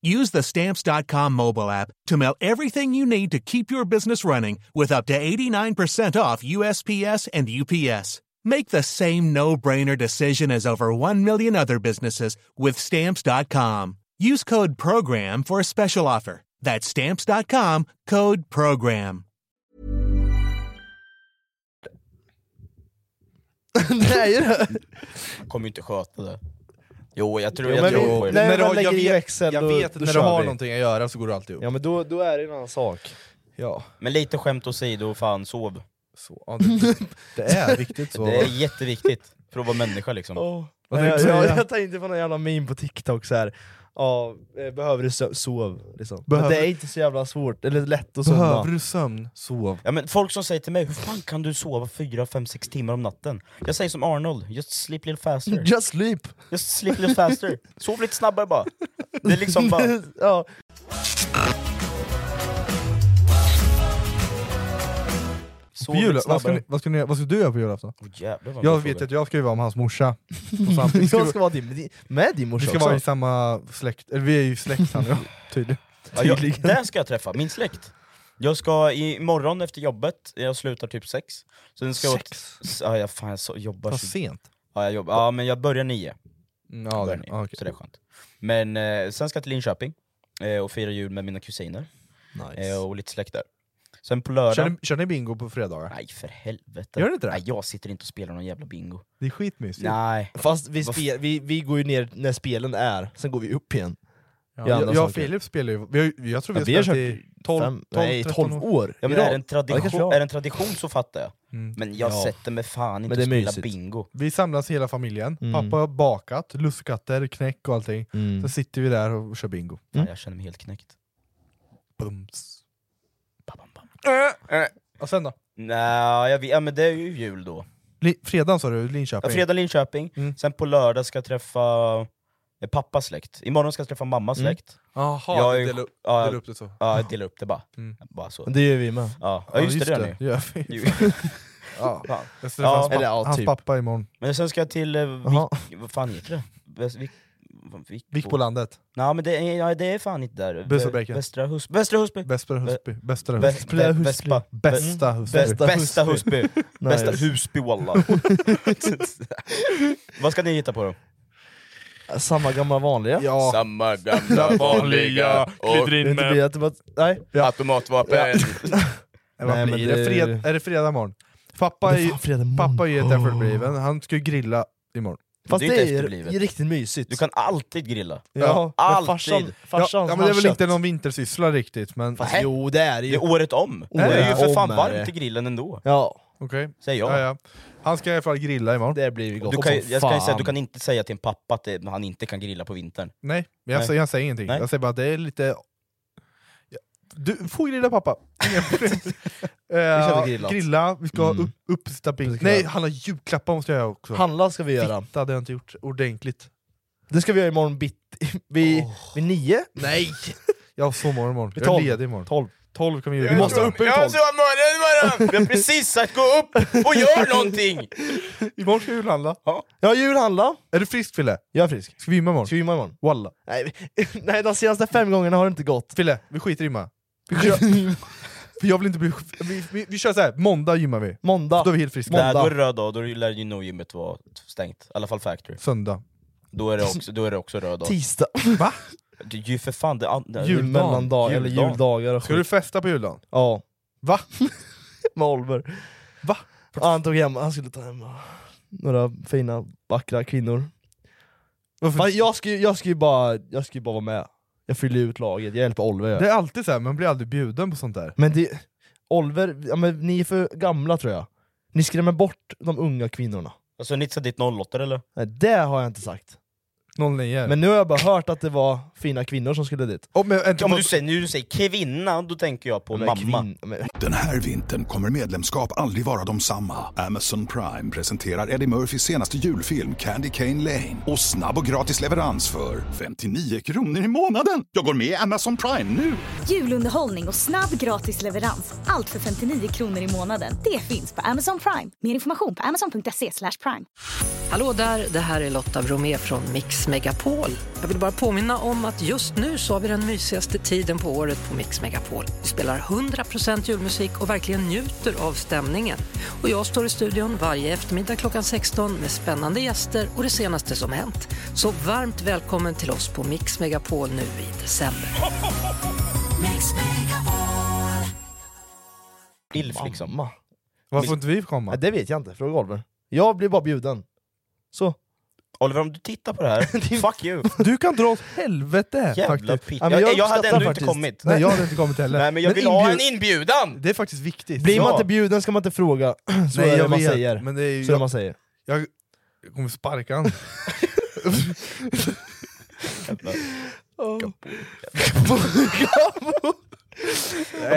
L: Use the stamps.com mobile app to mail everything you need to keep your business running with up to 89% off USPS and UPS. Make the same no brainer decision as over 1 million other businesses with stamps.com. Use code PROGRAM for a special offer. That's stamps.com code PROGRAM.
E: det är ju det.
C: Jag kommer ju inte sköta det. Jo, jag tror,
E: Jo,
C: jag
E: men
C: tror
E: vi-
C: på er.
E: nej,
D: När du
E: men
D: har-
E: lägger
D: jag
E: i
D: vet-
E: växel,
D: Jag
E: då-
D: vet att
E: då
D: när du
E: kör
D: har
E: vi.
D: någonting att göra så går du alltid upp.
E: Ja men då, då är det en annan sak.
D: Ja,
C: Men lite skämt åsido, fan sov.
D: så. Ja, det, <laughs> det är viktigt så.
C: Det är jätteviktigt för att vara människa liksom.
E: Oh.
D: Vad
E: jag,
D: tänkte du
E: jag,
D: säga?
E: jag tänkte på någon jävla meme på TikTok så här. Ja, eh, behöver du sö- sov? Liksom.
D: Behöver-
E: Men det är inte så jävla svårt, eller lätt att somna.
D: Behöver du sömn, sov.
C: Ja, men folk som säger till mig, hur fan kan du sova 4, 5, 6 timmar om natten? Jag säger som Arnold, just sleep little faster.
E: Just sleep!
C: Just sleep little faster. Sov lite snabbare bara. Det är liksom
D: <laughs>
C: bara...
E: ja.
D: På
C: Så
D: jul,
C: mycket
D: vad, ska
C: snabbare.
D: ni, vad, ska ni, vad ska du göra på julafton?
C: jävlar vad
D: jag
C: bra
D: vet
C: fråga.
D: att jag ska ju vara med hans morsa. <laughs> På
E: Jag
D: samtidigt.
E: ska vara din- med din- med din morsa
D: Vi ska
E: också.
D: vara i samma släkt, eller vi är ju släkt <laughs> han och jag, tydligen.
C: Ja, jag, där ska jag träffa min släkt. Jag ska imorgon efter jobbet, jag slutar typ sex. Så den ska jag åt- s- ja, jag, fan, jag så, jobbar
D: Vad
C: så-
D: sent.
C: Ja, jag jobbar, ja men jag börjar nio.
D: Mm, Ja,
C: det, nio Så det är skönt. Men eh, sen ska jag till Linköping eh, och fira jul med mina kusiner.
E: Nice.
C: Eh, och lite släkt där. Sen på lördag...
D: Kör ni, kör ni bingo på fredagar?
C: Nej för helvete.
E: Gör ni inte det?
C: Nej, jag sitter inte och spelar någon jävla bingo.
D: Det är skitmysigt.
C: Nej.
E: Fast vi,
C: Vad
E: spe, vi, vi går ju ner när spelen är, sen går vi upp igen.
D: Ja,
E: Gör andra
D: jag, jag och
E: saker.
D: Filip spelar ju, vi har, ju- jag tror vi
E: Ja,
D: har
E: vi har
D: spelat i
E: kört
D: 12,
E: fem-
D: 12,
E: nej,
D: 13
E: 12 år.
C: Ja, men
E: Ja,
C: är, det en
E: det kanske
C: tradition,
E: jag.
C: är det en tradition så fattar jag.
D: Mm.
C: Men jag
D: Ja.
C: sätter mig fan
D: Men
C: inte
D: det
C: och
D: är
C: spelar
D: mysigt.
C: bingo.
D: Vi samlas hela familjen,
C: Mm.
D: pappa har bakat, lussekatter, knäck och allting.
E: Mm.
D: Sen sitter vi där och kör bingo.
C: Fan, jag känner mig helt knäckt.
D: Bums. Äh, äh. Och sen då?
C: Nej, jag vet, ja, men det är ju jul då.
D: Li- Fredagen sa du,
C: Ja,
D: Linköping?
C: fredag Linköping, sen på lördag ska jag träffa eh, pappas släkt. Imorgon ska jag träffa mammas
D: Mm.
C: släkt.
D: Jaha,
C: Jag
D: du
C: är-
D: delar upp-
C: ja,
D: delar upp det så.
C: Ja, jag delar upp det bara. bara så.
E: Det gör vi med.
C: Ja, ja just, det, det
D: gör
C: ni.
D: vi.
C: Jo. <laughs>
D: Ja.
C: Fan.
D: Jag träffar hans, pappa,
C: Eller, ja,
D: hans
C: typ.
D: pappa imorgon.
C: Men sen ska jag till... eh, Vik, vad fan heter det? Väst, Vik, Vik,
D: Vikbolandet.
C: Nej men det är, ja, det är fan inte där. Vä-
D: Bösebräcke.
C: Västra Husby. Västra Husby.
D: Västra Husby. Västra
C: Vä-
D: Husby.
C: Vä- Vespa.
D: Bästa
C: Mm.
D: Husby.
C: Bästa, bästa Husby. <laughs> Bästa
D: Nice.
C: Husby walla. Vad ska ni hitta på då?
E: Samma gamla vanliga.
D: Ja.
C: Samma gamla vanliga.
E: Glider in med- Nej.
C: Automatvapen.
D: Nej, men det... Fred, är det fredag imorgon? Pappa
E: Det
D: är
E: är
D: ju
E: fan fredag
D: pappa är ju helt efterbliven, han ska ju grilla imorgon.
E: Fast det är ju riktigt mysigt.
C: Du kan alltid grilla.
D: Ja,
C: alltid.
D: ja, ja, men det är väl inte någon vintersyssla riktigt men...
E: Fast Nej. jo, det är det ju.
C: Det är året om.
D: Året
C: det är ju för
D: om
C: fan
D: är
C: varmt
D: det.
C: i grillen ändå.
E: Ja.
D: Okej.
C: Säger jag.
D: Ja, ja. Han ska i alla fall grilla imorgon.
E: Det blir ju
C: Du kan, ju- jag kan ju säga, att du kan inte säga till en pappa att det, han inte kan grilla på vintern.
D: Nej, men jag,
C: Nej.
D: Säger, jag säger ingenting.
C: Nej.
D: Jag säger bara att det är lite... Du får grilla pappa!
E: <laughs>
D: Inga problem.
E: ska
D: Eh,
E: till grillat.
D: grilla, vi ska
E: Mm.
D: upp, uppsitta bink. Nej, handla julklappar måste jag göra också.
E: Handla ska vi göra.
D: Fitta hade jag inte gjort ordentligt.
E: Det ska vi göra imorgon bitti. Vid, vid nio?
D: Nej! Jag har sovmorgon imorgon.
E: Vid
D: Jag är
E: tolv.
D: ledig imorgon.
E: Tolv.
D: 12 kan vi göra.
E: Vi måste upp i
C: Jag har sovmorgon imorgon! <laughs> Vi har precis sagt gå upp och gör
D: <laughs>
C: någonting!
D: Imorgon ska jag julhandla.
C: Ja.
E: Ja, julhandla.
D: Är du frisk Fille?
E: Jag är frisk.
D: Ska vi gymma imorgon?
E: Ska vi gymma imorgon?
D: Walla.
E: Nej, vi- <laughs> nej, de senaste fem gångerna har det inte gått.
D: Fille, vi skiter i gymma. Vi kör- <laughs> För jag vill inte bli... Vi, vi, vi kör såhär, måndag gymmar vi.
E: Måndag.
D: Då är vi helt friska.
C: Nej, då är det röd dag, då lär ju nog gymmet vara stängt. I alla fall factory.
D: Söndag.
C: Då är det också, då är det också röd dag.
E: Tisdag.
D: Va?
C: Det är ju för fan... Det, det,
D: Juldagen.
E: Mellandag, eller
C: Juldagen.
E: juldagar och
D: Ska du
E: skit.
D: festa på juldagen?
E: Ja.
D: Va?
E: <laughs> Med Oliver.
D: Va?
E: Ja, han tog hem, han skulle ta hem några fina, vackra kvinnor.
D: Varför?
E: Fan, jag ska ju jag ska ju bara, jag ska ju bara vara med. Jag fyller ut laget, jag hjälper Oliver.
D: Det är alltid så här, man blir aldrig bjuden på sånt där.
E: Men det, Oliver, ja, men ni är för gamla tror jag. Ni skrämmer bort de unga kvinnorna.
C: Alltså Nitsa ditt 08 eller?
E: Nej, det har jag inte sagt.
D: 09.
E: Men nu har jag bara hört att det var fina kvinnor som skulle dit.
D: Oh, men,
C: Ja, men du säger, nu du säger kvinna, då tänker jag på
E: Men
C: mamma.
E: kvinn- men-
A: Den här vintern kommer medlemskap aldrig vara de samma. Amazon Prime presenterar Eddie Murphys senaste julfilm Candy Cane Lane. Och snabb och gratis leverans för 59 kronor i månaden. Jag går med i Amazon Prime nu!
B: Julunderhållning och snabb gratis leverans. Allt för 59 kronor i månaden. Det finns på Amazon Prime. Mer information på amazon.se slash prime.
M: Hallå där, det här är Lotta Bromé från Mix Megapol. Jag vill bara påminna om att just nu så har vi den mysigaste tiden på året på Mix Megapol. Vi spelar 100% julmusik och verkligen njuter av stämningen. Och jag står i studion varje eftermiddag klockan 16 med spännande gäster och det senaste som hänt. Så varmt välkommen till oss på Mix Megapol nu i december.
C: Ilf liksom.
E: Mamma.
D: Varför får inte vi komma?
E: Nej, det vet jag inte, fråga Oliver. Jag blir bara bjuden. Så.
C: Oliver om du tittar på det
D: <laughs>
C: här, fuck you!
D: Du kan dra åt helvete!
C: Jävla
D: faktiskt.
C: pick.
D: Ja, men
C: Jag- jag hade
D: uppskattar
C: ändå inte kommit.
D: Nej, jag hade inte kommit heller.
C: Nej men jag vill ha en inbjudan!
D: Det är faktiskt viktigt.
E: Blir man
D: Ja.
E: inte bjuden ska man inte fråga. <clears throat> Så
D: Nej,
E: är det
D: jag
E: man
D: vet,
E: säger.
D: men det är ju-
E: Så är det man säger.
D: Jag jag kommer sparka honom.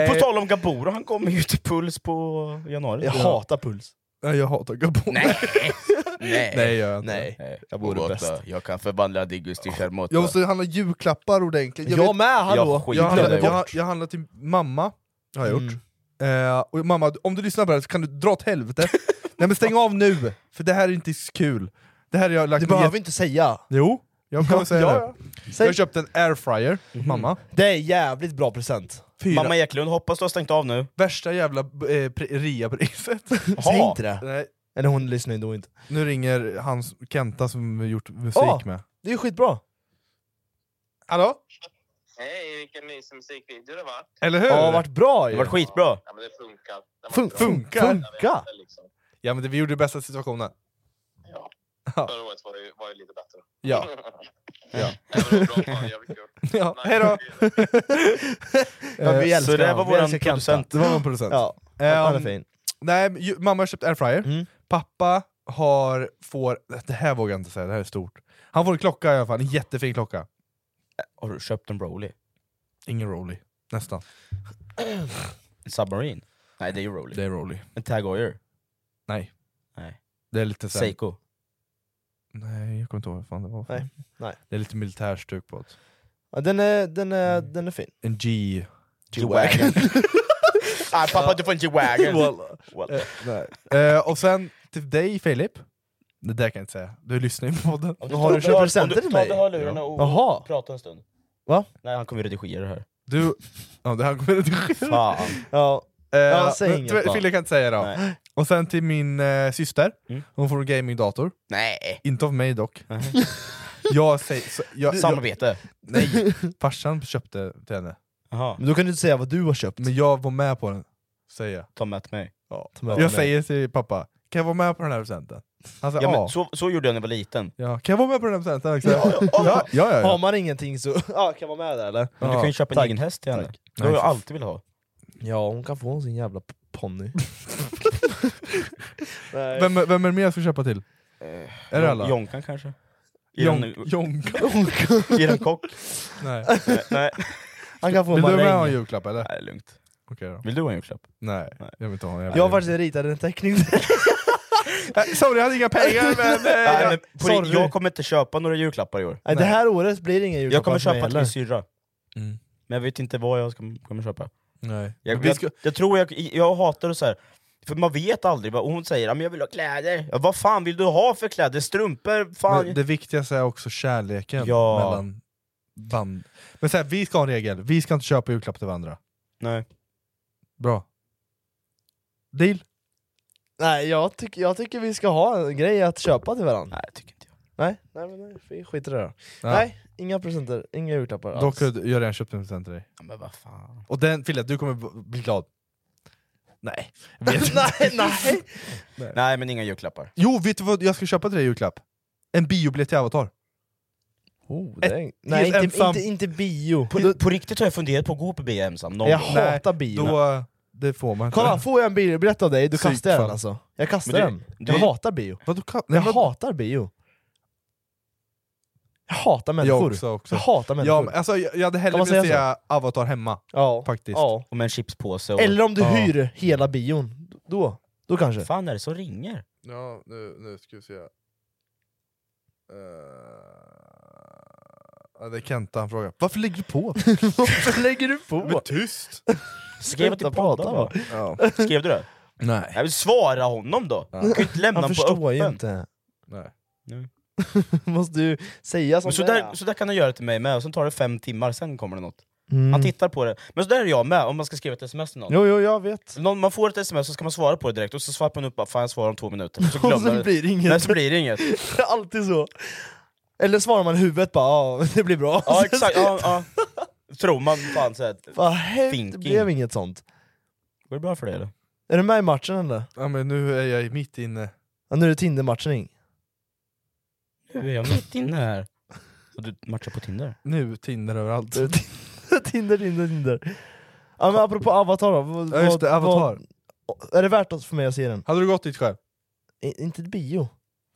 C: På tal om Gaboro, han kommer ju till Puls på januari.
E: Jag hatar puls.
D: Nej, jag hatar Gabon.
C: Nej! Nej!
D: Nej, jag gör inte.
E: Nej.
C: Jag
E: vore
C: Charmotta.
E: bäst.
C: Jag kan förvandla Diggus till Charmotta.
D: Jag måste handla julklappar ordentligt.
E: Jag, med, hallå!
C: Jag skiter
D: jag,
C: i
D: handlar,
C: det.
D: jag, jag handlar till mamma, har jag gjort.
E: Mm.
D: Eh, och mamma, om du lyssnar på det här så kan du dra
E: <laughs>
D: åt helvete. Nej men stäng av nu, för det här är inte så kul. Det här har jag lagt
E: Du
D: ner-
E: behöver inte säga.
D: Jo, jag kommer
E: Ja,
D: säga
E: ja, Mhm.
D: det. Jag har köpt en airfryer, mamma.
E: Det är jävligt bra present.
C: Mamma Eklund, hoppas du har stängt av nu.
D: Värsta jävla eh, pre-
E: <laughs>
D: reapriset.
E: Säg inte det.
D: Nej.
E: Eller hon lyssnar ju då inte.
D: Nu ringer hans Kenta som vi gjort musik
E: Ja.
D: med.
E: Det är ju skitbra.
D: Hallå?
N: Hej, vilken mysig musikvideo det var.
D: Eller hur?
E: Ja, det har varit bra ju.
D: Det har varit skitbra.
N: Ja, men det liksom funkar.
D: Fun funkar?
E: Funkar?
D: Ja men det, vi gjorde det bästa av situationen. Ja.
N: Förra året var det ju, var ju lite bättre.
D: Ja.
N: ja. men det var bra. Fan, jävligt kul.
D: Ja, hejdå!
E: Ja, vi
D: Eh,
E: älskar honom. Vi älskar Kenta.
D: Det var vår producent.
E: Ja, han är
D: Ehm,
E: fin.
D: Nej, men ju- mamma har köpt airfryer, pappa har, får, det här vågar jag inte säga, det här är stort. Han får en klocka i alla fall, en jättefin klocka.
C: Har du köpt en Broly?
D: Ingen Roly, nästan.
C: Submarine? Nej det är ju Roly.
D: Det är Roly.
C: En Tag Heuer?
D: Nej.
C: Nej.
D: Det är lite så här-
C: Seiko?
D: Nej, jag kommer inte ihåg vad fan det var. för-
E: Nej, nej.
D: Det är lite militärstuk på det.
E: Ja, den, är, den, är, den är fin.
D: En G... <laughs>
E: G-Wagon.
C: Nej pappa du får en G-Wagon!
D: Walla.
C: Walla.
D: Eh, nej. Eh, och sen till dig Filip, det där kan jag inte säga, du lyssnar ju på podden.
C: Om ta- ta- om du- Ta av dig hörlurarna och
D: Jaha.
C: prata en stund.
E: Va? Mm.
C: Nej han kommer ju redigera det här.
D: Du... Ja, det här kommer jag inte skicka.
C: Fan.
E: Ja.
D: Eh,
E: Ja, säg
D: men
E: inget
D: tyvärr,
E: bara.
D: Fille kan inte säga det då.
E: Nej.
D: Och sen till min eh, syster, hon får en gamingdator.
C: Nej.
D: Inte av mig dock. <laughs> jag säger, så, jag,
C: Samarbete.
D: Jag, nej, farsan köpte till henne.
E: Men då kan du inte säga vad du har köpt.
D: Men jag var med på den, säger jag.
C: Ta med till mig.
D: Ja.
E: Ta med
D: jag
E: mig.
D: säger till pappa, kan jag vara med på den här presenten? Han säger
C: Ja,
D: ja.
C: men, så, så gjorde jag när jag var liten.
D: ja. Kan jag vara med på den här presenten? också?" ja, ja, ja,
E: Har
D: ja.
E: man ingenting så ja, kan man med där eller?
C: Men du kan ju köpa en egen häst till henne. Det har
E: Nej,
C: jag
E: för-
C: alltid velat ha.
E: Ja, hon kan få sin jävla p- ponny. Nej.
D: Vem, vem är det mer jag ska köpa till? är det alla?
C: Jonkan kanske?
D: Jon-
C: Jon-
D: Jonkan?
C: Ge den kock?
D: Nej.
C: Nej.
E: Han kan få
D: Vill du
E: maräng.
D: med ha en julklapp eller?
C: Nej, lugnt.
D: Okej då.
C: Vill du ha en julklapp?
D: Nej, jag vill inte ha en jävla
E: Jag har faktiskt ritat en teckning.
D: Eh, Sorry, jag hade inga
C: <laughs>
D: pengar men... eh,
C: Nej,
D: jag-
C: men på
D: sorry.
C: ri- jag kommer inte köpa några julklappar i år.
E: Nej, det här året blir det ingen julklapp
C: Jag kommer
E: för mig
C: köpa till
E: heller.
C: min syrra.
D: Mm.
C: Men jag vet inte vad jag ska, kommer köpa.
D: Nej.
C: Jag,
D: Vi
C: jag,
D: ska-
C: jag tror jag, jag hatar det så här. för man vet aldrig. vad- Hon säger att jag vill ha kläder. Ja, vad fan vill du ha för kläder? Strumpor? Fan.
D: Men det viktigaste är också kärleken
C: Ja.
D: mellan band. Men så här, vi ska ha en regel, vi ska inte köpa julklapp till varandra.
C: Nej.
D: Bra. Deal?
E: Nej, jag, tyck, jag tycker vi ska ha en grej att köpa till varandra.
C: Nej, tycker inte
E: jag. Nej, nej, men nej vi skiter i det då.
D: Ja.
E: Nej, inga presenter, inga julklappar
D: Dock
E: alls.
D: har jag redan köpt en present till dig.
C: Ja, men vad fan.
D: Och den Fille, du kommer b- bli glad. Nej. jag vet inte.
E: <laughs> nej, nej!
C: Nej men inga julklappar.
D: Jo, vet du vad jag ska köpa till dig i julklapp? En biobiljett till Avatar.
E: Oh, det är...
D: Ett-
E: Nej,
D: helt
E: inte,
D: ensam-
E: inte, inte bio.
C: På, på riktigt har jag funderat på att gå på bio ensam någon
E: Jag
C: gång.
D: Nej,
E: hatar bio.
D: Då, eh, det får man inte.
E: Kolla, får jag en biobiljett av dig, du kastar jag
D: Psykfall.
E: den alltså. Jag kastar
D: Men du-
E: den.
D: du-
E: jag hatar bio.
D: Vadå, ka-
E: Jag
D: nej, vad-
E: hatar bio. Jag hatar människor.
D: Jag också, också.
E: Jag hatar
D: Ja,
E: människor.
D: men alltså, jag, jag hade
E: Kan
D: hellre
E: man
D: velat
E: säga
D: se Avatar hemma.
E: Ja.
D: Faktiskt.
E: Ja.
C: Och med en chipspåse och...
E: Eller om du
D: Ja.
E: hyr hela bion. Då, då kanske.
C: fan är det som ringer?
D: Ja, nu, nu ska vi se. Uh, ja, det är Kenta han frågar. Varför lägger du på?
E: Varför lägger du på?
D: Men tyst!
C: Skrev till
E: prata
C: podden
E: bara.
C: bara.
D: Ja.
C: Skrev du det?
D: Nej.
C: Jag vill svara honom då! Du kan ju inte lämna
E: Han
C: honom på
E: förstår ju
C: öppen.
E: inte.
D: Nej.
E: <laughs> Måste du säga
C: Men
E: sånt
C: så, där, så där kan han göra till mig med, och sen tar det fem timmar, sen kommer det något.
E: Mm.
C: Han tittar på det. Men så där är jag med, om man ska skriva ett sms till någon.
E: Jo, jo, jag vet.
C: Någon, man får ett sms så ska man svara på det direkt, och så svarar man upp bara, 'Fan jag svarar om två minuter' Och så glömmer
E: <laughs> Och sen blir det inget.
C: Nej, så blir det inget.
E: Det är <laughs> Alltid så. Eller svarar man i huvudet bara ja, <laughs> det blir bra.
C: Ja exakt, ja,
E: <laughs>
C: ja. Tror man fan såhär...
E: Vad helt, det
C: Thinking.
E: blev inget sånt.
C: Går det bra för dig eller?
E: Är du med i matchen eller?
D: Ja, men nu är jag mitt inne.
E: Ja, nu är det Tinder-matchning. <laughs>
C: Nu är jag mitt inne här. Och du matchar på Tinder?
D: Nu Tinder överallt.
E: Nu är det Tinder, Tinder, Tinder, Tinder. Ja, men apropå Avatar då. Vad,
D: Ja, just det,
E: vad-
D: Avatar.
E: vad- är det värt att för mig att se den?
D: Hade du gått dit själv?
E: I, inte ett bio.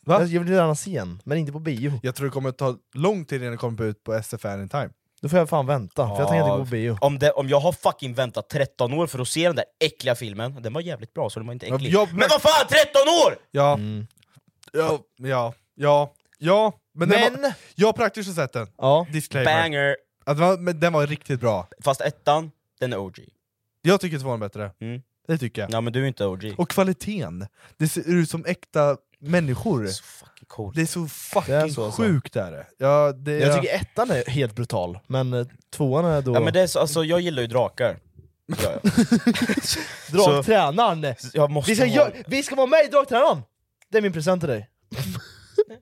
D: Va?
E: Jag, jag vill gärna se den, men inte på bio.
D: Jag tror det kommer ta lång tid innan det kommer ut på SF Anytime.
E: Då får jag fan vänta, för jag tänker inte gå på bio.
C: Om, det, om jag har fucking väntat 13 år för att se den där äckliga filmen, den var jävligt bra så den var inte äcklig.
D: jag-
C: men vad fan 13 år!
D: Ja,
E: Mm.
D: ja, ja, ja, ja. Men, Den
E: Men-
D: var, jag har praktiskt sett den.
E: Ja.
D: Disclaimer.
C: Banger!
D: Att den, var, men den var riktigt bra.
C: Fast ettan, den är OG.
D: Jag tycker tvåan är bättre.
C: Mm.
D: Det tycker jag.
C: Ja men du är inte OG.
D: Och kvaliteten, det ser ut som äkta människor. Det är så
C: fucking coolt.
D: Det är så fucking
E: Det är så, alltså.
D: sjukt är det. Ja, det
E: Jag tycker ettan är helt brutal, men eh, tvåan är då...
C: Ja, men det är så, alltså, jag gillar ju drakar. Ja,
E: <laughs>
C: ja.
E: Draktränaren!
C: Jag måste
E: Vi ska,
C: ha-
E: gö- vi ska vara med i Draktränaren! Det är min present
C: <laughs>
E: till dig.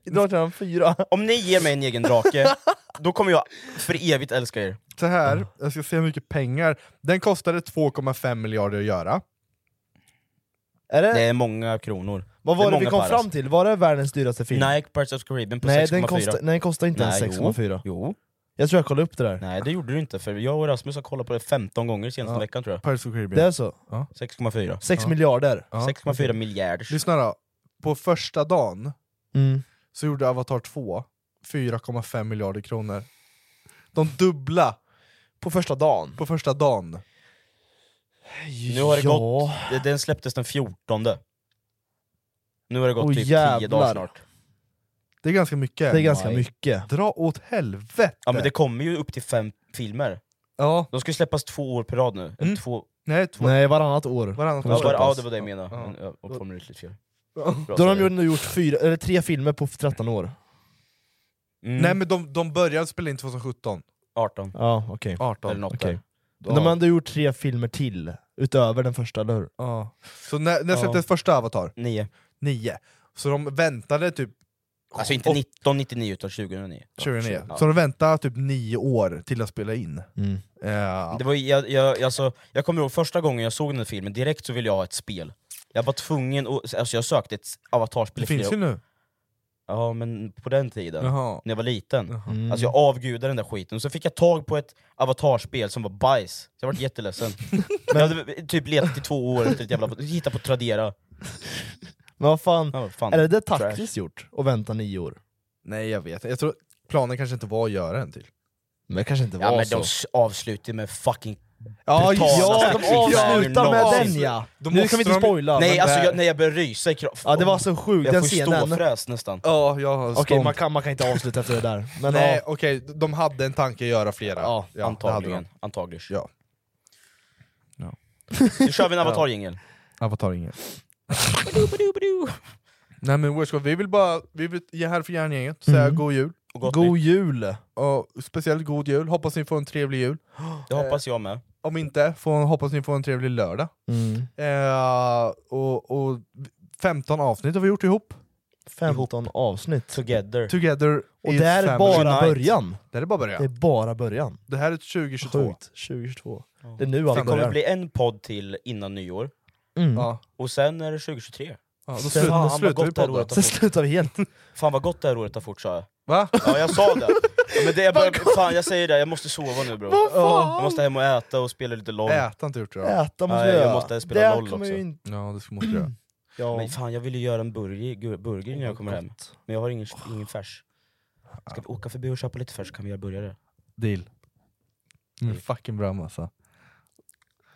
E: Draktränaren 4.
C: Om ni ger mig en egen drake, då kommer jag för evigt älska er.
E: Eh.
D: Så
E: Mm.
D: här, jag ska se hur mycket pengar. Den kostade 2,5 miljarder att göra.
E: Är det?
C: Det är många kronor.
E: Vad var det,
C: är
E: vi
C: många
E: kom
C: par,
E: fram
C: alltså.
E: till? Var det världens dyraste film?
C: Nej, Pirates of the Caribbean på
E: Nej,
C: 6,4.
E: den kostar- nej, den kostar inte ens
C: Nej,
E: 6,4.
C: Jo. jo.
E: Jag tror jag kollade upp det där.
C: Nej det gjorde du inte, för jag och Rasmus har kollat på det 15 gånger senaste
E: Ja.
C: veckan tror jag.
D: Pirates of the Caribbean.
E: Det är så?
C: 6,4.
E: Sex miljarder?
C: 6,4 miljarder.
D: Lyssna då, på första dagen
E: Mm.
D: så gjorde Avatar 2 4,5 miljarder kronor. De dubbla!
E: På första dagen?
D: På första dagen.
C: Nu har det
D: Ja.
C: gått, det- den släpptes den 14. Nu har det gått
D: Åh,
C: typ 10
D: jävlar.
C: dagar snart.
D: Det är ganska mycket.
C: Det är ganska Nej. mycket.
D: Dra åt helvete!
C: Ja men det kommer ju upp till fem filmer.
D: Ja.
C: De ska ju släppas två år per rad nu.
E: Mm.
C: Eller Två...
D: Nej, två.
E: Nej, varannat år.
C: Ja,
E: år.
C: bara, ja det var det jag menade. Men Jag jag formade ut lite fel. Bra,
E: Då har
C: sorry.
E: de ju ändå gjort fyra, eller tre filmer på 13 år.
C: Mm,
D: Nej men de, de började spela in 2017.
C: 18.
E: Ja, okej.
D: 18.
E: Eller något Okej. där. Men De har ändå gjort tre filmer till, utöver den första, eller hur?
D: Ja. Så när, när
E: Ja.
D: släpptes första Avatar?
C: Nio.
D: Nio. Så de väntade typ
C: Alltså inte 1999 utan 2009.
D: 2009.
C: Ja.
D: Så de väntade typ nio år till att spela in.
E: Mm.
D: Eh, Ja.
C: Det var, ju- jag, jag, alltså, jag kommer ihåg första gången jag såg den här filmen, direkt så ville jag ha ett spel. Jag var tvungen, att, alltså jag sökte ett avatarspel
D: Det
C: i flera
D: finns ju
C: år.
D: nu.
C: Ja men på den tiden,
D: Jaha.
C: när jag var liten.
D: Mm.
C: Alltså jag avgudade den där skiten, så fick jag tag på ett avatarspel som var bajs, så jag vart
E: <laughs>
C: jätteledsen. Jag hade typ letat i två år efter ett jävla... Hitta på Tradera.
E: Men vad fan,
C: Ja, vad fan.
E: är det det
C: Trash.
E: taktiskt gjort? Att vänta nio år?
D: Nej jag vet Jag tror planen kanske inte var att göra en till.
E: Men det kanske inte var
C: Ja men
E: så.
C: de s- avslutar ju med fucking
E: Ja,
C: brutala
E: ja, de
C: sexscener
E: avslutar med
C: någonsin.
E: den, ja. Då Nu måste kan vi inte de- spoila,
C: Nej
E: men
C: alltså
E: det-
C: jag, när jag började rysa i kroppen.
E: Ja, det var så sjukt,
C: jag
E: den
C: Jag
E: scenen.
C: får ståfräs nästan.
D: Ja, jag har
E: Okej,
D: stånd.
E: man, kan, man kan inte avsluta efter det där. Men
D: Nej
E: ja,
D: okej, de hade en tanke att göra flera. Ja, det hade de.
C: antagligen. Antagligen.
D: Ja.
C: Nu kör
E: <laughs>
C: vi en avatarjingel.
D: Avatar inget. Nej men Wordscore, vi vill bara vi vill ge här för järngänget, säga
E: Mm.
D: god jul.
C: Och gott
E: God
C: nytt.
E: jul!
D: Och speciellt god jul, hoppas ni får en trevlig jul.
C: Det hoppas jag med.
D: Om inte, får, hoppas ni får en trevlig lördag.
E: Mm.
D: Eh, och, och 15 avsnitt har vi gjort ihop.
E: 15 avsnitt.
C: Together.
D: Together
E: Och
D: is
E: det här är
D: family.
E: bara
D: Unite.
E: början.
D: Det här är bara
E: Det är
D: början.
E: bara början.
D: Det här är 2022.
E: Sjukt, 2022. Det är nu
C: Det
E: allt
C: kommer
E: börjar.
C: bli en podd till innan nyår,
E: Mm.
D: Ja.
C: och sen är det 2023.
D: Ja, då
C: Sen-
D: slutar-
C: Fan,
D: då
C: vad
D: slutar
C: gott
D: vi
C: det här
D: podden.
C: året har
E: Sen
C: fort.
E: slutar vi helt.
C: Fan vad gott det här året har fort sa jag.
D: Va?
C: Ja jag sa det. Ja, men det jag börjar, fan jag säger det, jag måste sova nu bror.
E: Vad fan?
C: Jag måste hem och äta och spela lite LOL.
D: Äta Äh, inte gjort det då.
E: Äta måste
C: Nej,
E: vi göra.
C: jag måste spela
E: Det här
C: LOL också.
E: kommer ju inte-
D: Ja, det ska- måste jag göra.
E: Ja.
C: Men fan jag ville göra en burger, gu- burger när jag kommer hem, men jag har ingen, ingen färs. Ska vi åka förbi och köpa lite färs så kan vi göra burgare?
D: Deal. Mm, fucking bra massa.